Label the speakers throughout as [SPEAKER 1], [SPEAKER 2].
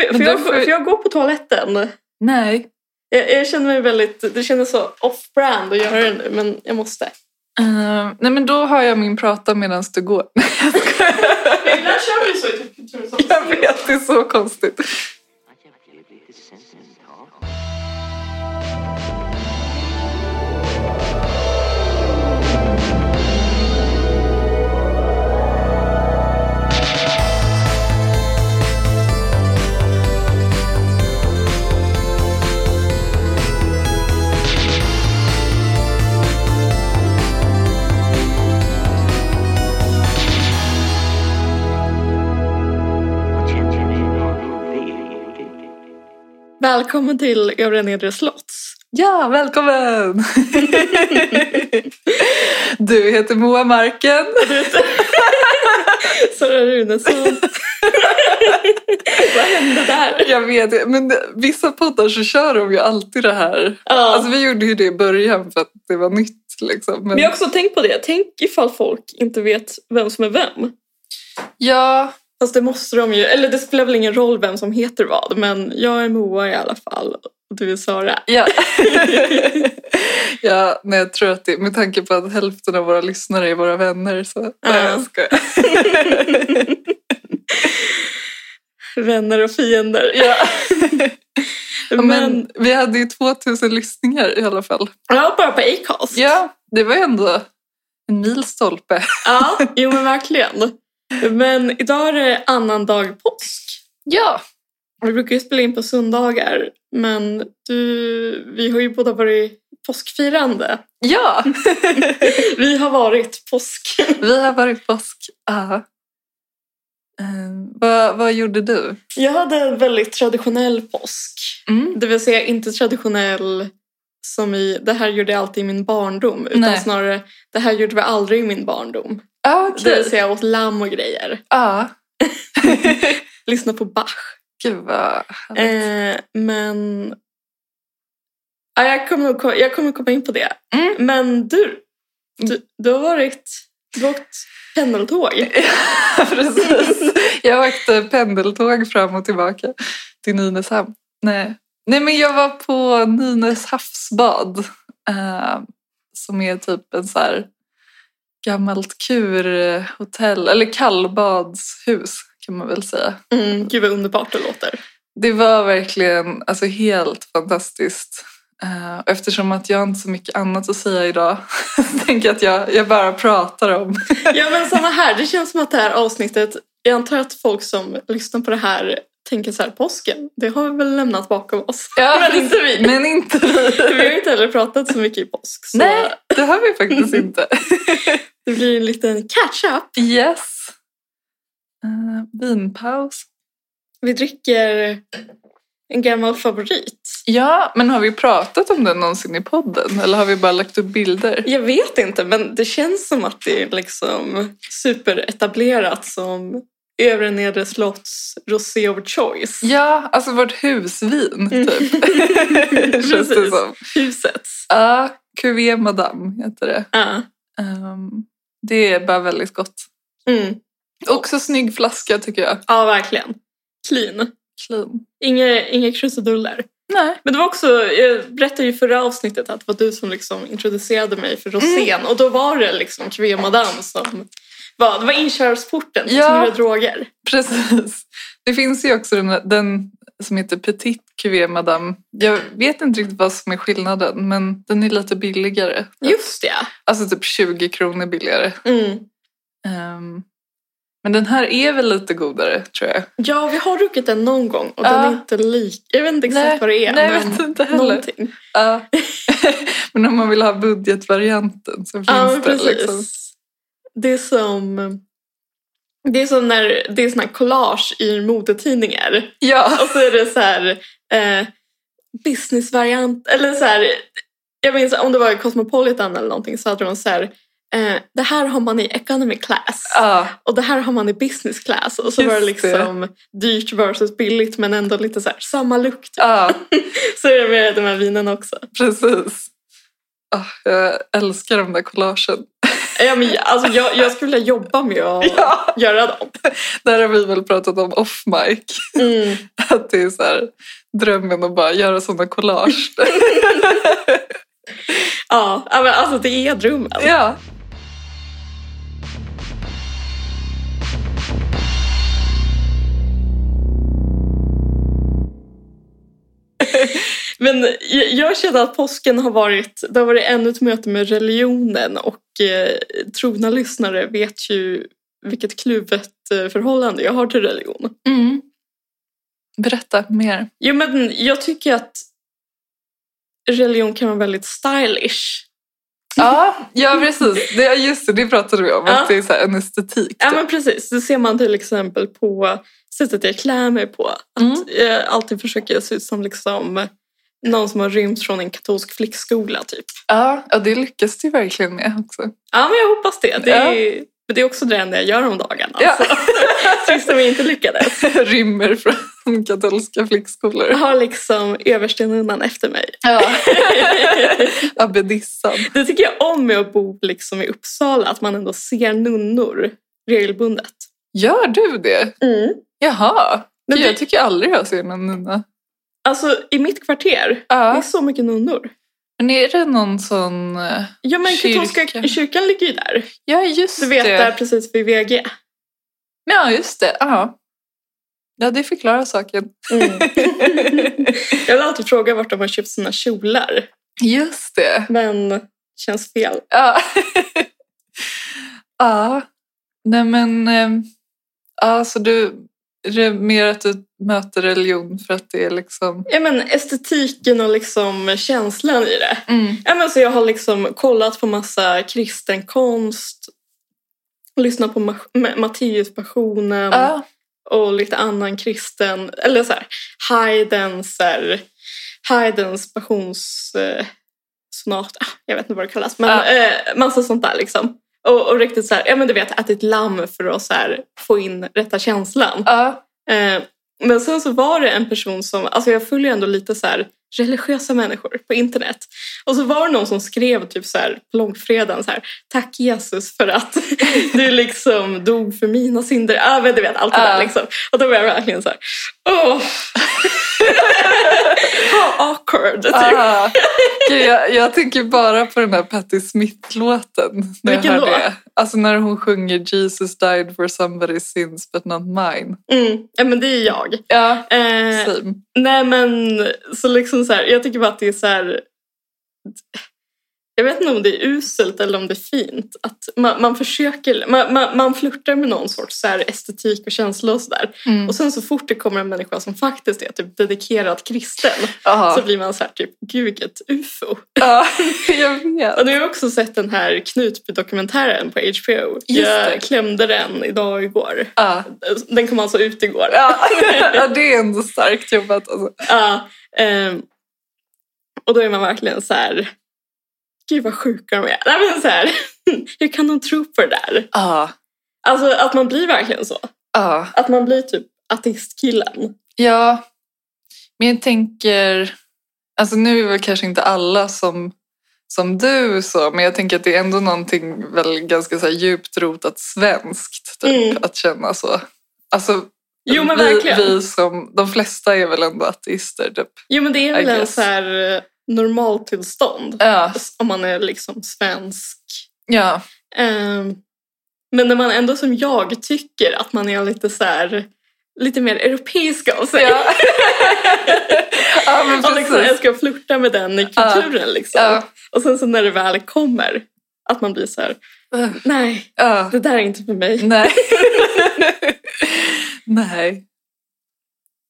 [SPEAKER 1] För, för,
[SPEAKER 2] Men
[SPEAKER 1] jag,
[SPEAKER 2] därför-
[SPEAKER 1] för jag går på toaletten.
[SPEAKER 2] Nej.
[SPEAKER 1] Jag, jag känner mig väldigt... Det känns så off-brand att göra det nu, men jag måste.
[SPEAKER 2] Eh, nej men då har jag min prata medan du går.
[SPEAKER 1] Ibland kör vi så i typ
[SPEAKER 2] jag vet, det är så konstigt.
[SPEAKER 3] Aquele blir sentimental. Sentimental.
[SPEAKER 1] Välkommen till Övre Nedre Slotts.
[SPEAKER 2] Ja, välkommen! du heter Moa Marken.
[SPEAKER 1] Sara Runesson. Vad hände där?
[SPEAKER 2] Jag vet, men vissa poddar så kör de ju alltid det här.
[SPEAKER 1] Ja.
[SPEAKER 2] Alltså vi gjorde ju det i början för att det var nytt liksom.
[SPEAKER 1] men jag har också tänkt på det. Tänk ifall folk inte vet vem som är vem.
[SPEAKER 2] Ja,
[SPEAKER 1] Fast det måste de ju. Eller det spelar väl ingen roll vem som heter vad. Men jag är Moa i alla fall. Och du är Sara.
[SPEAKER 2] ja. ja, nej jag tror att det, med tanke på att hälften av våra lyssnare är våra vänner så... Nej, jag skojar.
[SPEAKER 1] Vänner och fiender.
[SPEAKER 2] Ja.
[SPEAKER 1] Men,
[SPEAKER 2] Men... vi hade ju 2000 lyssningar i alla fall.
[SPEAKER 1] ja, bara på Acast.
[SPEAKER 2] Ja, det var ju ändå en milstolpe.
[SPEAKER 1] ja, jo men verkligen. Men idag är det annan dag påsk.
[SPEAKER 2] Ja.
[SPEAKER 1] Vi brukar ju spela in på söndagar. Men du, vi har ju båda varit påskfirande.
[SPEAKER 2] Ja,
[SPEAKER 1] Vi har varit påsk.
[SPEAKER 2] vi har varit påsk. Ja. Ehm, vad, vad gjorde du?
[SPEAKER 1] Jag hade en väldigt traditionell påsk.
[SPEAKER 2] Mm.
[SPEAKER 1] Det vill säga inte traditionell som i det här gjorde jag alltid i min barndom. Utan
[SPEAKER 2] Nej.
[SPEAKER 1] snarare det här gjorde vi aldrig i min barndom.
[SPEAKER 2] Ja,
[SPEAKER 1] Det
[SPEAKER 2] okej.
[SPEAKER 1] vill säga jag åt lamm och grejer.
[SPEAKER 2] Ja.
[SPEAKER 1] Lyssna på Bach.
[SPEAKER 2] Gud vad härligt.
[SPEAKER 1] Eh, men... Ja, jag, kommer, nog ko- jag kommer komma in på det.
[SPEAKER 2] Mm.
[SPEAKER 1] Men du, du, du har varit... Du har åkt
[SPEAKER 2] Mm.
[SPEAKER 1] pendeltåg.
[SPEAKER 2] Precis. Jag åkte pendeltåg fram och tillbaka till Nynäshamn. Nej. Nej, men jag var på Nynäs havsbad. Eh, som är typ en så här gammalt kurhotell, eller kallbadshus kan man väl säga.
[SPEAKER 1] Mm, gud vad underbart det låter.
[SPEAKER 2] Det var verkligen alltså, helt fantastiskt. Eh, och Eftersom att jag inte har så mycket annat att säga idag så tänker jag att jag, jag bara pratar om
[SPEAKER 1] Ja men samma här, det känns som att det här avsnittet, jag antar att folk som lyssnar på det här tänker så här, påsken, det har vi väl lämnat bakom oss.
[SPEAKER 2] Ja,
[SPEAKER 1] men inte vi.
[SPEAKER 2] Men inte vi.
[SPEAKER 1] Vi har ju inte heller pratat så mycket i påsk så
[SPEAKER 2] Nej, det har vi faktiskt inte.
[SPEAKER 1] det blir en liten catch-up.
[SPEAKER 2] Yes. Uh, vinpaus.
[SPEAKER 1] Vi dricker en gammal favorit.
[SPEAKER 2] Ja, men har vi pratat om den någonsin i podden? Eller har vi bara lagt upp bilder?
[SPEAKER 1] Jag vet inte men det känns som att det är liksom superetablerat som övre nedre slotts rosé of choice.
[SPEAKER 2] Ja, alltså vårt husvin typ. Känns det
[SPEAKER 1] Precis.
[SPEAKER 2] som.
[SPEAKER 1] Husets.
[SPEAKER 2] Ja, Cuvée Madame heter det.
[SPEAKER 1] Ja.
[SPEAKER 2] Ehm, det är bara väldigt gott.
[SPEAKER 1] Mm.
[SPEAKER 2] Också snygg flaska tycker jag.
[SPEAKER 1] ja, verkligen. Clean.
[SPEAKER 2] Clean.
[SPEAKER 1] Inga, inga krusiduller.
[SPEAKER 2] Nej.
[SPEAKER 1] Men det var också, jag berättade ju i förra avsnittet att det var du som liksom introducerade mig för rosén
[SPEAKER 2] Mm.
[SPEAKER 1] och då var det liksom Cuvée Madame som var, det var inkörsporten till
[SPEAKER 2] Ja.
[SPEAKER 1] några droger.
[SPEAKER 2] Precis. Det finns ju också den, den som heter Petit Cuvée Madame. Jag vet inte riktigt vad som är skillnaden, men den är lite billigare.
[SPEAKER 1] Just det.
[SPEAKER 2] Alltså typ 20 kronor billigare.
[SPEAKER 1] Mm.
[SPEAKER 2] Ehm, men den här är väl lite godare, tror jag.
[SPEAKER 1] Ja, vi har druckit den någon gång och
[SPEAKER 2] Ja.
[SPEAKER 1] den är inte lik. Jag vet inte exakt
[SPEAKER 2] Nej,
[SPEAKER 1] vad det är.
[SPEAKER 2] nej, jag
[SPEAKER 1] men
[SPEAKER 2] vet inte heller.
[SPEAKER 1] någonting.
[SPEAKER 2] Ja. men om man vill ha budgetvarianten så finns
[SPEAKER 1] Ja, men
[SPEAKER 2] det.
[SPEAKER 1] precis.
[SPEAKER 2] Liksom.
[SPEAKER 1] Det är som... Det är som när det är såna här collage i modetidningar.
[SPEAKER 2] Ja.
[SPEAKER 1] Och så är det så här eh, businessvariant. Eller så här, jag minns om det var i Cosmopolitan eller någonting så hade de så här eh, det här har man i economy class
[SPEAKER 2] ja.
[SPEAKER 1] och det här har man i business class. Och så
[SPEAKER 2] Just
[SPEAKER 1] var det liksom dyrt versus billigt men ändå lite så här samma lukt.
[SPEAKER 2] ja.
[SPEAKER 1] Så är det med de här vinen också.
[SPEAKER 2] Precis. Ah, jag älskar de där collagen.
[SPEAKER 1] Ja, men, alltså, jag, jag skulle vilja jobba med att
[SPEAKER 2] Ja,
[SPEAKER 1] göra dem.
[SPEAKER 2] där har vi väl pratat om off-mic.
[SPEAKER 1] Mm.
[SPEAKER 2] Att det är så här, drömmen att bara göra sådana collage.
[SPEAKER 1] Ja, ja, men, alltså det är drömmen.
[SPEAKER 2] ja.
[SPEAKER 1] Men jag- jag känner att påsken har varit, det har varit ännu ett möte med religionen och eh, trogna lyssnare vet ju vilket kluvet eh, förhållande jag har till religion.
[SPEAKER 2] Mm. Berätta mer.
[SPEAKER 1] Jo men jag tycker att religion kan vara väldigt stylish.
[SPEAKER 2] Ja, ja precis. Det, just det, det pratade vi om.
[SPEAKER 1] Ja.
[SPEAKER 2] Att det är så här en estetik.
[SPEAKER 1] Ja
[SPEAKER 2] typ.
[SPEAKER 1] men precis, det ser man till exempel på sättet jag klär mig på.
[SPEAKER 2] Mm.
[SPEAKER 1] Jag eh, alltid försöker se ut som liksom någon som har rymt från en katolsk flickskola typ.
[SPEAKER 2] Ja, ja, det lyckas du verkligen med också.
[SPEAKER 1] Ja men jag hoppas det. Det
[SPEAKER 2] Ja.
[SPEAKER 1] är, men det är också det enda jag gör om dagarna.
[SPEAKER 2] Ja.
[SPEAKER 1] så- Trist om jag inte lyckades.
[SPEAKER 2] Alltså, Rymmer från katolska flickskolor.
[SPEAKER 1] Jag har liksom överstelnunnan efter mig.
[SPEAKER 2] Ja. Abbedissan.
[SPEAKER 1] Det tycker jag om med att bo liksom i Uppsala, att man ändå ser nunnor regelbundet.
[SPEAKER 2] Gör du det? Jaha.
[SPEAKER 1] Men
[SPEAKER 2] Mm. Gud, jag
[SPEAKER 1] det-
[SPEAKER 2] tycker aldrig jag ser någon nunna.
[SPEAKER 1] Alltså i mitt kvarter, det är
[SPEAKER 2] Ja.
[SPEAKER 1] så mycket nunnor.
[SPEAKER 2] Men är det någon sån... eh,
[SPEAKER 1] Ja men katolska
[SPEAKER 2] Kyrkan.
[SPEAKER 1] kyrkan ligger ju där.
[SPEAKER 2] Ja, just
[SPEAKER 1] Du vet
[SPEAKER 2] det.
[SPEAKER 1] där precis vid VG.
[SPEAKER 2] Ja, just det. Ja. ja, det förklarar saken.
[SPEAKER 1] jag vill alltid fråga vart de har köpt sina kjolar.
[SPEAKER 2] Just det.
[SPEAKER 1] Men känns fel.
[SPEAKER 2] Ja. ja. Nej, men... eh, Ja, så du... re- Mer att du möter religion för att det är liksom...
[SPEAKER 1] Ja men estetiken och liksom känslan i det.
[SPEAKER 2] Mm.
[SPEAKER 1] Ja, men så jag har liksom kollat på massa kristen konst, lyssnat på Ma- Ma- Matteuspassionen
[SPEAKER 2] Ja.
[SPEAKER 1] och lite annan kristen, eller så här, Haydns, så här, Haydns passionssonater, eh, sonat. ah, jag vet inte vad det kallas, men
[SPEAKER 2] Ja.
[SPEAKER 1] eh, massa sånt där liksom. Och, och riktigt så här, ja men du vet, ätit lamm för att så här, få in rätta känslan.
[SPEAKER 2] Ja.
[SPEAKER 1] Eh, men sen så var det en person som, alltså jag följer ändå lite så här religiösa människor på internet. Och så var det någon som skrev typ så här på långfredagen så här, tack Jesus för att du liksom dog för mina synder. Ja men du vet allt det där
[SPEAKER 2] Ja.
[SPEAKER 1] liksom. Och då var jag verkligen så här, åh. How awkward. Typ.
[SPEAKER 2] Ah, gud, jag, jag tänker bara på den här Patti Smith-låten. När jag
[SPEAKER 1] Vilken då?
[SPEAKER 2] hör det. Alltså när hon sjunger Jesus died for somebody's sins but not mine.
[SPEAKER 1] Mm. Ja men det är jag.
[SPEAKER 2] Ja,
[SPEAKER 1] Eh,
[SPEAKER 2] same.
[SPEAKER 1] nej men så liksom så här, jag tycker bara att det är så här. Jag vet inte om det är uselt eller om det är fint. Att man, man försöker, man, man, man flörtar med någon sorts så här estetik och känsla och sådär.
[SPEAKER 2] Mm.
[SPEAKER 1] Och sen så fort det kommer en människa som faktiskt är typ dedikerat kristen
[SPEAKER 2] Ja,
[SPEAKER 1] så blir man så här typ, gud vilket ufo.
[SPEAKER 2] ja, jag vet.
[SPEAKER 1] Och nu har jag också sett den här Knutby-dokumentären på HBO.
[SPEAKER 2] Just det.
[SPEAKER 1] jag klämde den idag och igår.
[SPEAKER 2] Ja.
[SPEAKER 1] Den kom alltså ut igår.
[SPEAKER 2] Ja. ja, det är ändå starkt jobbat. Alltså.
[SPEAKER 1] Ja, ehm, och då är man verkligen så här... Gud vad sjuka de är. Nej, men så här, hur kan de tro på det där?
[SPEAKER 2] Ja,
[SPEAKER 1] Alltså att man blir verkligen så.
[SPEAKER 2] ja.
[SPEAKER 1] Att man blir typ ateistkillen.
[SPEAKER 2] Ja, men jag tänker... Alltså nu är väl kanske inte alla som, som du så, men jag tänker att det är ändå någonting väl ganska så här djupt rotat svenskt typ,
[SPEAKER 1] Mm.
[SPEAKER 2] att känna så. Alltså,
[SPEAKER 1] Jo men
[SPEAKER 2] vi,
[SPEAKER 1] verkligen.
[SPEAKER 2] Vi som, de flesta är väl ändå ateister typ.
[SPEAKER 1] Jo men det är
[SPEAKER 2] I
[SPEAKER 1] väl en
[SPEAKER 2] guess.
[SPEAKER 1] så här eh, normaltillstånd.
[SPEAKER 2] Ja,
[SPEAKER 1] Om man är liksom svensk.
[SPEAKER 2] ja,
[SPEAKER 1] Ehm, men när man ändå som jag tycker att man är lite så här... Lite mer europeisk av sig.
[SPEAKER 2] ja. ja men
[SPEAKER 1] och liksom
[SPEAKER 2] precis.
[SPEAKER 1] älskar att flirta med den kulturen liksom.
[SPEAKER 2] Ja,
[SPEAKER 1] Och sen så när det väl kommer, att man blir så här, nej,
[SPEAKER 2] ja.
[SPEAKER 1] det där är inte för mig.
[SPEAKER 2] Nej. Nej.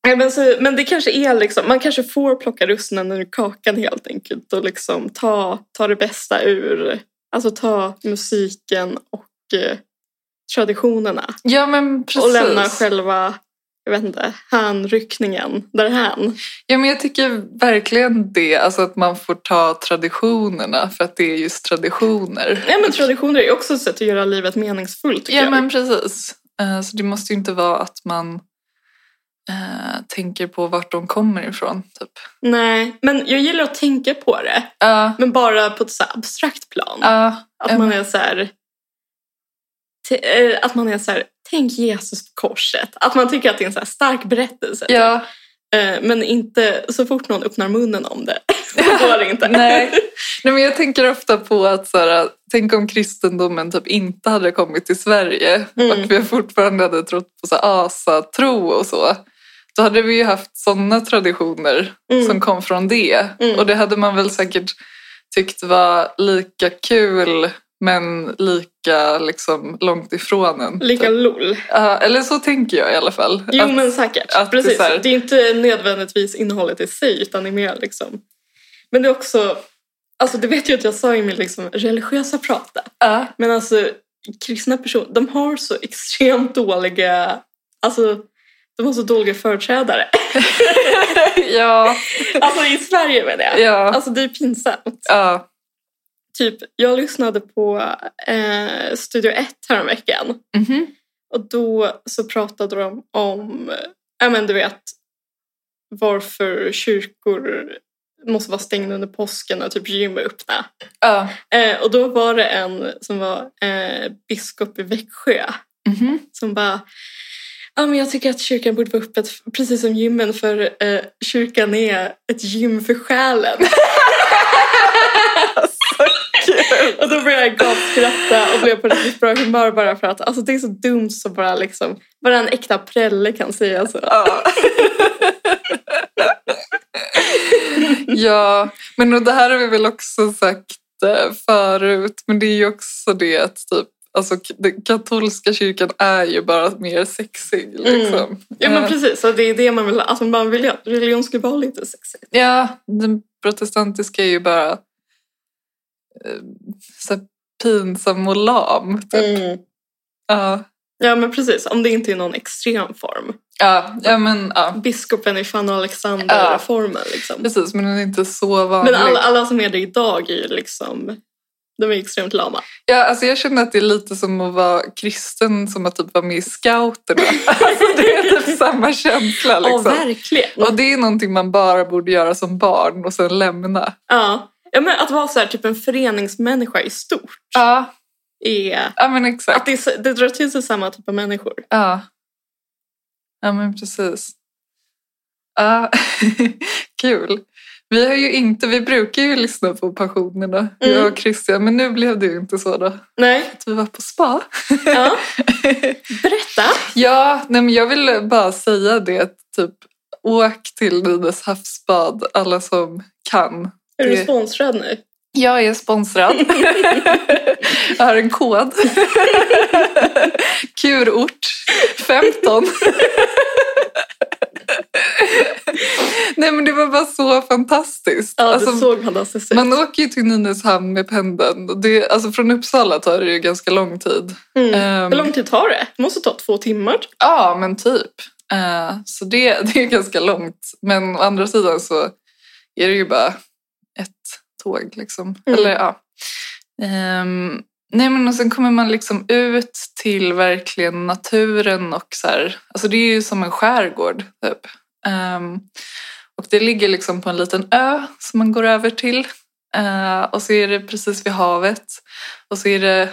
[SPEAKER 1] Nej, Men, så, men det kanske är liksom, man kanske får plocka russinen ur kakan helt enkelt och liksom ta, ta det bästa ur, alltså ta musiken och eh, traditionerna.
[SPEAKER 2] Ja men precis.
[SPEAKER 1] Och lämna själva, jag vet inte, handryckningen därhän.
[SPEAKER 2] Ja, men jag tycker verkligen det, alltså att man får ta traditionerna för att det är just traditioner.
[SPEAKER 1] Nej men traditioner är också ett sätt att göra livet meningsfullt tycker
[SPEAKER 2] Ja,
[SPEAKER 1] jag.
[SPEAKER 2] men precis. Eh, Så det måste ju inte vara att man eh, tänker på vart de kommer ifrån. Typ.
[SPEAKER 1] Nej, men jag gillar att tänka på det.
[SPEAKER 2] Ja,
[SPEAKER 1] Men bara på ett så här abstrakt plan.
[SPEAKER 2] ja,
[SPEAKER 1] Att man är så här, t- eh, att man är så här, tänk Jesus på korset. Att man tycker att det är en så här stark berättelse.
[SPEAKER 2] Ja,
[SPEAKER 1] Eh, Men inte så fort någon öppnar munnen om det. Då går det inte.
[SPEAKER 2] Nej. Nej, men jag tänker ofta på att så här, tänk om kristendomen typ inte hade kommit till Sverige
[SPEAKER 1] Mm.
[SPEAKER 2] och vi fortfarande hade trott på så här, asatro och så. Då hade vi ju haft sådana traditioner
[SPEAKER 1] Mm.
[SPEAKER 2] som kom från det.
[SPEAKER 1] Mm.
[SPEAKER 2] Och det hade man väl säkert tyckt var lika kul men lika liksom, långt ifrån en.
[SPEAKER 1] Lika
[SPEAKER 2] typ.
[SPEAKER 1] LOL.
[SPEAKER 2] Ja, eller så tänker jag i alla fall.
[SPEAKER 1] Jo
[SPEAKER 2] Att-
[SPEAKER 1] men säkert.
[SPEAKER 2] att det är
[SPEAKER 1] Precis.
[SPEAKER 2] så här-
[SPEAKER 1] Det är inte nödvändigtvis innehållet i sig utan det är mer liksom. Men det är också, alltså det vet jag att jag sa i min liksom religiösa prata.
[SPEAKER 2] ja.
[SPEAKER 1] Men alltså kristna personer, de har så extremt dåliga, alltså de har så dåliga företrädare.
[SPEAKER 2] ja,
[SPEAKER 1] Alltså i Sverige menar jag.
[SPEAKER 2] ja,
[SPEAKER 1] Alltså det är pinsamt.
[SPEAKER 2] ja.
[SPEAKER 1] Typ, jag lyssnade på eh, Studio 1 häromveckan.
[SPEAKER 2] Mhm.
[SPEAKER 1] Och då så pratade de om, eh, ja men du vet, varför kyrkor måste vara stängda under påsken och typ gym är öppna.
[SPEAKER 2] ja.
[SPEAKER 1] Eh, och då var det en som var eh, biskop i Växjö
[SPEAKER 2] Mhm.
[SPEAKER 1] som bara Ja, men jag tycker att kyrkan borde vara öppet f- precis som gymmen för eh, kyrkan är ett gym för själen. och då började jag gapskratta och blev på riktigt bra humör bara för att alltså, det är så dumt som bara, liksom, bara en äkta prälle kan säga så.
[SPEAKER 2] Ja. ja, men och det här har vi väl också sagt eh, förut, men det är ju också det att typ, alltså, k- den katolska kyrkan är ju bara mer sexig. Liksom.
[SPEAKER 1] Mm. Ja men
[SPEAKER 2] Eh,
[SPEAKER 1] precis, och det är det man vill Alltså man vill ju att religion ska vara lite sexigt.
[SPEAKER 2] ja, den protestantiska är ju bara eh, så här pinsam och lam. Typ.
[SPEAKER 1] Mm.
[SPEAKER 2] Ja.
[SPEAKER 1] Ja men precis, om det inte är någon extrem form.
[SPEAKER 2] Ja, ja, men ja.
[SPEAKER 1] Biskopen i Fanny och Alexander-reformen liksom.
[SPEAKER 2] Precis, men den är inte så vanlig.
[SPEAKER 1] Men alla, alla som är det idag är ju liksom... De är extremt lama.
[SPEAKER 2] Ja, alltså jag känner att det är lite som att vara kristen som att typ vara med i scouterna. Alltså det är typ samma känsla. Liksom.
[SPEAKER 1] verkligen.
[SPEAKER 2] och det är någonting man bara borde göra som barn och sen lämna.
[SPEAKER 1] Ja. ja men att vara så här, typ en föreningsmänniska i stort
[SPEAKER 2] Ja,
[SPEAKER 1] är...
[SPEAKER 2] ja men
[SPEAKER 1] Att
[SPEAKER 2] exakt.
[SPEAKER 1] det, är så- det drar till sig samma typ av människor.
[SPEAKER 2] Ja, ja men precis. Ja, kul. Vi, har ju inte, vi brukar ju lyssna på passionerna, jag och Christian, men nu blev det ju inte så då.
[SPEAKER 1] Nej.
[SPEAKER 2] Att vi var på spa.
[SPEAKER 1] Ja. Berätta.
[SPEAKER 2] Ja, nej men jag vill bara säga det. Typ, åk till Nynäs havsbad, alla som kan.
[SPEAKER 1] Är du
[SPEAKER 2] Det-
[SPEAKER 1] sponsrad nu?
[SPEAKER 2] Jag är sponsrad. jag har en kod. Kurort 15. nej men det var bara så fantastiskt.
[SPEAKER 1] Ja,
[SPEAKER 2] Alltså,
[SPEAKER 1] du såg fantastiskt ut.
[SPEAKER 2] man åker ju till Nynäshamn med pendeln. Och Det, alltså från Uppsala tar det ju ganska lång tid.
[SPEAKER 1] Mm.
[SPEAKER 2] Ehm,
[SPEAKER 1] Hur lång tid tar det? Det måste ta två timmar. typ.
[SPEAKER 2] Ja, men typ. Eh, så det, det är ganska långt. Men å andra sidan så är det ju bara ett tåg. Liksom.
[SPEAKER 1] Mm.
[SPEAKER 2] Eller, ja. Ehm, nej, men och sen kommer man liksom ut till verkligen naturen. och så här, alltså Det är ju som en skärgård. Typ. Ehm, och det ligger liksom på en liten ö som man går över till. Eh, och så är det precis vid havet. Och så är det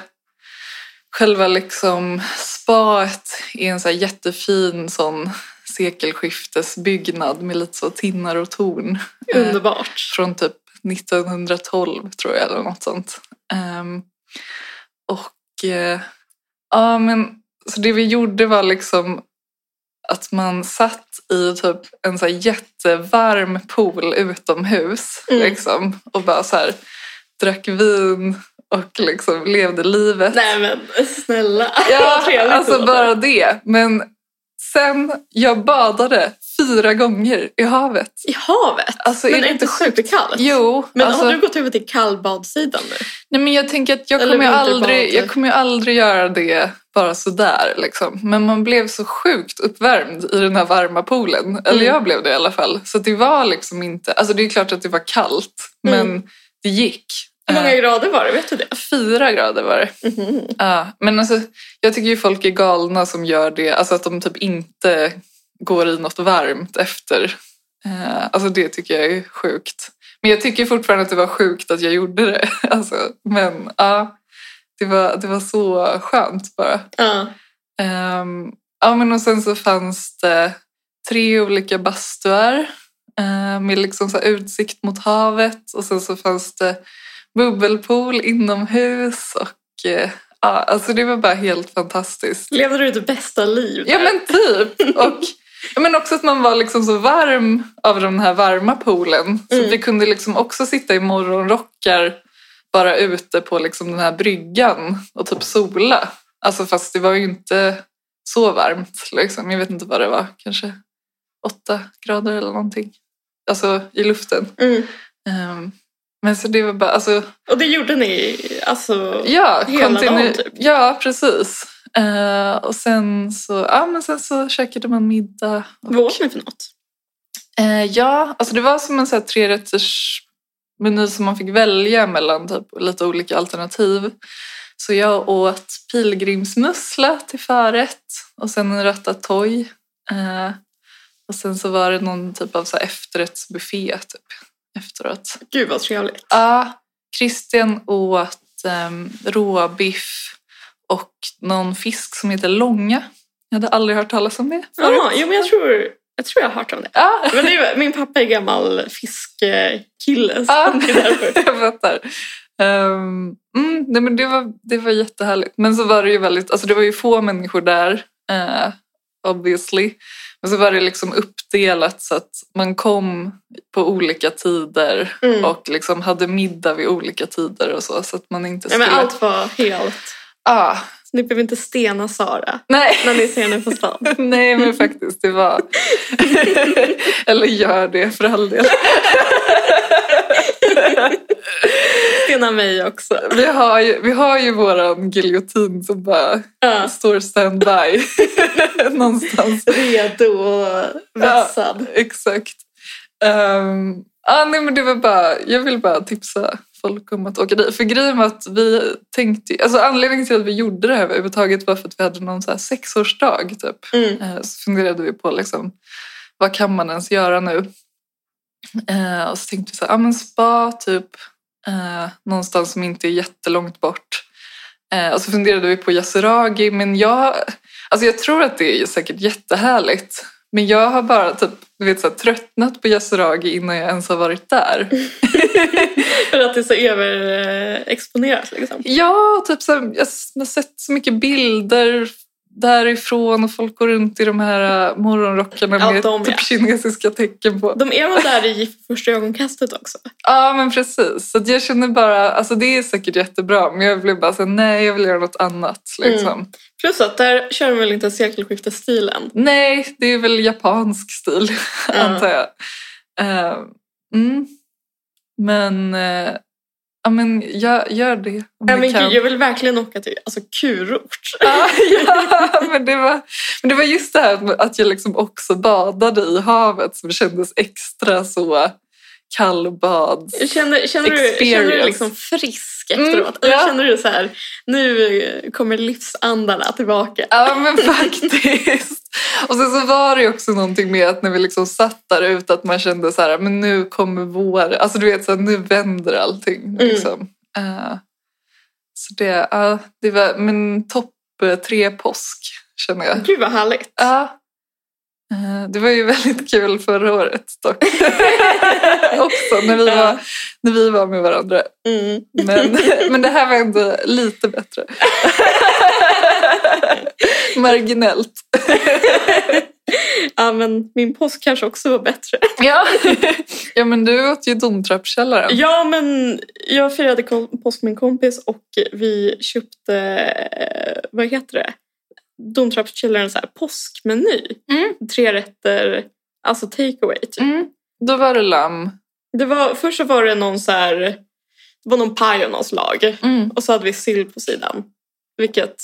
[SPEAKER 2] själva liksom spaet i en så här jättefin sån sekelskiftesbyggnad med lite så tinnar och torn. Eh,
[SPEAKER 1] Underbart.
[SPEAKER 2] Från typ 1912 tror jag eller något sånt. Ehm, och eh, ja men så det vi gjorde var liksom att man satt i typ en så här jättevarm pool utomhus
[SPEAKER 1] Mm.
[SPEAKER 2] liksom, och bara så här drack vin och liksom levde livet.
[SPEAKER 1] Nej men snälla. Vad
[SPEAKER 2] Ja,
[SPEAKER 1] trevligt det
[SPEAKER 2] alltså
[SPEAKER 1] låter.
[SPEAKER 2] bara det. Men sen, jag badade fyra gånger i havet.
[SPEAKER 1] I havet?
[SPEAKER 2] Alltså,
[SPEAKER 1] men
[SPEAKER 2] är
[SPEAKER 1] är
[SPEAKER 2] det
[SPEAKER 1] det inte superkallt?
[SPEAKER 2] Jo,
[SPEAKER 1] Men
[SPEAKER 2] alltså,
[SPEAKER 1] har du gått över till kallbadsidan nu?
[SPEAKER 2] nej, men jag tänker att jag
[SPEAKER 1] Eller
[SPEAKER 2] kommer, ju
[SPEAKER 1] vinterbad,
[SPEAKER 2] aldrig, jag
[SPEAKER 1] typ.
[SPEAKER 2] kommer ju aldrig göra det bara sådär. Liksom. Men man blev så sjukt uppvärmd i den här varma poolen. Eller
[SPEAKER 1] Mm.
[SPEAKER 2] jag blev det i alla fall. Så det var liksom inte... Alltså det är klart att det var kallt,
[SPEAKER 1] Mm.
[SPEAKER 2] men det gick.
[SPEAKER 1] Hur många
[SPEAKER 2] Eh,
[SPEAKER 1] grader var det? Vet du det?
[SPEAKER 2] Fyra grader var det. Ja, men alltså, jag tycker ju folk är galna som gör det. Alltså att de typ inte går i något varmt efter. Eh, alltså det tycker jag är sjukt. Men jag tycker fortfarande att det var sjukt att jag gjorde det. Alltså, men ja, Det var, det var så skönt bara.
[SPEAKER 1] Ja.
[SPEAKER 2] Ehm, ja, men och sen så fanns det tre olika bastuar eh, med liksom så här utsikt mot havet och sen så fanns det bubbelpool inomhus och eh, ja, alltså det var bara helt fantastiskt.
[SPEAKER 1] Levde du ditt bästa liv?
[SPEAKER 2] Ja
[SPEAKER 1] där?
[SPEAKER 2] men typ! Och, ja, men också att man var liksom så varm av den här varma poolen. Så
[SPEAKER 1] Mm.
[SPEAKER 2] vi kunde liksom också sitta i morgonrockar bara ute på liksom den här bryggan och typ sola. Alltså fast det var ju inte så varmt. Liksom. Jag vet inte vad det var, kanske åtta grader eller någonting. Alltså i luften.
[SPEAKER 1] Mm.
[SPEAKER 2] Ehm, men så det var bara, alltså
[SPEAKER 1] Och det gjorde ni alltså...
[SPEAKER 2] Ja,
[SPEAKER 1] Hela
[SPEAKER 2] kontinu-
[SPEAKER 1] dagen, typ.
[SPEAKER 2] ja precis. Eh, och sen så, ja, men sen så käkade man middag. Och,
[SPEAKER 1] Vad åt ni för något?
[SPEAKER 2] Eh, ja, alltså det var som en så här trerätters meny som man fick välja mellan typ, lite olika alternativ. Så jag åt pilgrimsmussla till förrätt och sen en ratatouille. Eh, och sen så var det någon typ av så här efterrättsbuffé typ, efteråt.
[SPEAKER 1] Gud vad trevligt.
[SPEAKER 2] Ja, Christian åt um, råbiff och någon fisk som heter långa. Jag hade aldrig hört talas om det förut.
[SPEAKER 1] Ja, jo, men jag tror, jag tror jag har hört om det.
[SPEAKER 2] Ja,
[SPEAKER 1] Men det är, min pappa är gammal fiskkille. så
[SPEAKER 2] ja.
[SPEAKER 1] det är därför.
[SPEAKER 2] jag fattar. Ehm, mm, nej, men det, var, det var jättehärligt. Men så var det ju väldigt, alltså det var ju få människor där, eh, obviously. Men så var det liksom uppdelat så att man kom på olika tider
[SPEAKER 1] Mm.
[SPEAKER 2] och liksom hade middag vid olika tider och så. Så att man inte
[SPEAKER 1] Ja,
[SPEAKER 2] skulle...
[SPEAKER 1] men allt var helt...
[SPEAKER 2] Ja,
[SPEAKER 1] Så ni behöver inte stena Sara
[SPEAKER 2] nej.
[SPEAKER 1] när ni ser henne på stan.
[SPEAKER 2] Nej, men faktiskt, det var... Eller gör det för all del.
[SPEAKER 1] Stena mig också.
[SPEAKER 2] Vi har ju, vi har ju våran giljotin som bara
[SPEAKER 1] Ja.
[SPEAKER 2] står standby någonstans.
[SPEAKER 1] Redo och vässad.
[SPEAKER 2] Exakt. Ehm, ah, nej, men det var bara, jag vill bara tipsa folk om att åka dit. För grejen var att vi tänkte... Alltså anledningen till att vi gjorde det här överhuvudtaget var för att vi hade någon så här sexårsdag typ.
[SPEAKER 1] Mm.
[SPEAKER 2] Eh, Så funderade vi på liksom, vad kan man ens göra nu? Eh, och så tänkte vi så här, ah, men spa typ, eh, någonstans som inte är jättelångt bort. Eh, och så funderade vi på Yasuragi, men jag, alltså jag tror att det är säkert jättehärligt. Men jag har bara typ, du vet, så här, tröttnat på Yasuragi innan jag ens har varit där.
[SPEAKER 1] För att det är så överexponerat liksom.
[SPEAKER 2] Ja, typ så här, jag har sett så mycket bilder därifrån och folk går runt i de här äh, morgonrockarna
[SPEAKER 1] Ja,
[SPEAKER 2] med
[SPEAKER 1] de,
[SPEAKER 2] typ
[SPEAKER 1] ja.
[SPEAKER 2] kinesiska tecken på.
[SPEAKER 1] De är väl där i första ögonkastet också?
[SPEAKER 2] Ja, men precis. Så att jag känner bara, alltså det är säkert jättebra, men jag blev bara så här, nej, jag vill göra något annat. Liksom.
[SPEAKER 1] Mm. Plus att där kör de väl inte sekelskiftesstilen?
[SPEAKER 2] Nej, det är väl japansk stil,
[SPEAKER 1] Ja.
[SPEAKER 2] antar jag. Eh, mm. Men, eh, ja men gör, gör det om
[SPEAKER 1] Nej
[SPEAKER 2] ni
[SPEAKER 1] men
[SPEAKER 2] kan.
[SPEAKER 1] gud, jag vill verkligen åka till alltså, kurort.
[SPEAKER 2] Ja, ja, men, det var, men det var just det här med att jag liksom också badade i havet som kändes extra så kallbad.
[SPEAKER 1] Känner, känner, du, känner du dig
[SPEAKER 2] Experience.
[SPEAKER 1] liksom frisk
[SPEAKER 2] Mm,
[SPEAKER 1] efteråt? Eller
[SPEAKER 2] ja.
[SPEAKER 1] känner du så här, nu eh, kommer livsandarna tillbaka?
[SPEAKER 2] Ja men faktiskt. Och sen så var det ju också någonting med att när vi liksom satt där ute att man kände så här, men nu kommer vår, alltså du vet så här, nu vänder allting. Liksom. Eh, så det, ja, det var min topp eh, tre påsk känner jag.
[SPEAKER 1] Gud vad härligt.
[SPEAKER 2] Ja. Eh, Det var ju väldigt kul förra året dock. Också när vi,
[SPEAKER 1] Ja.
[SPEAKER 2] var, när vi var med varandra.
[SPEAKER 1] Mm.
[SPEAKER 2] Men, men det här var ändå lite bättre. Marginellt.
[SPEAKER 1] Ja, men min påsk kanske också var bättre.
[SPEAKER 2] Ja. ja men du åt ju domtrappkällaren.
[SPEAKER 1] Ja, men jag firade kom- påsk med en kompis och vi köpte, eh, vad heter det? Domtrappskällaren så här påskmeny.
[SPEAKER 2] Mm.
[SPEAKER 1] Tre rätter, alltså takeaway typ.
[SPEAKER 2] Mm. Då var det lamm.
[SPEAKER 1] Det var, först så var det någon så här, det var någon paj av något slag.
[SPEAKER 2] Mm.
[SPEAKER 1] Och så hade vi sill på sidan. Vilket,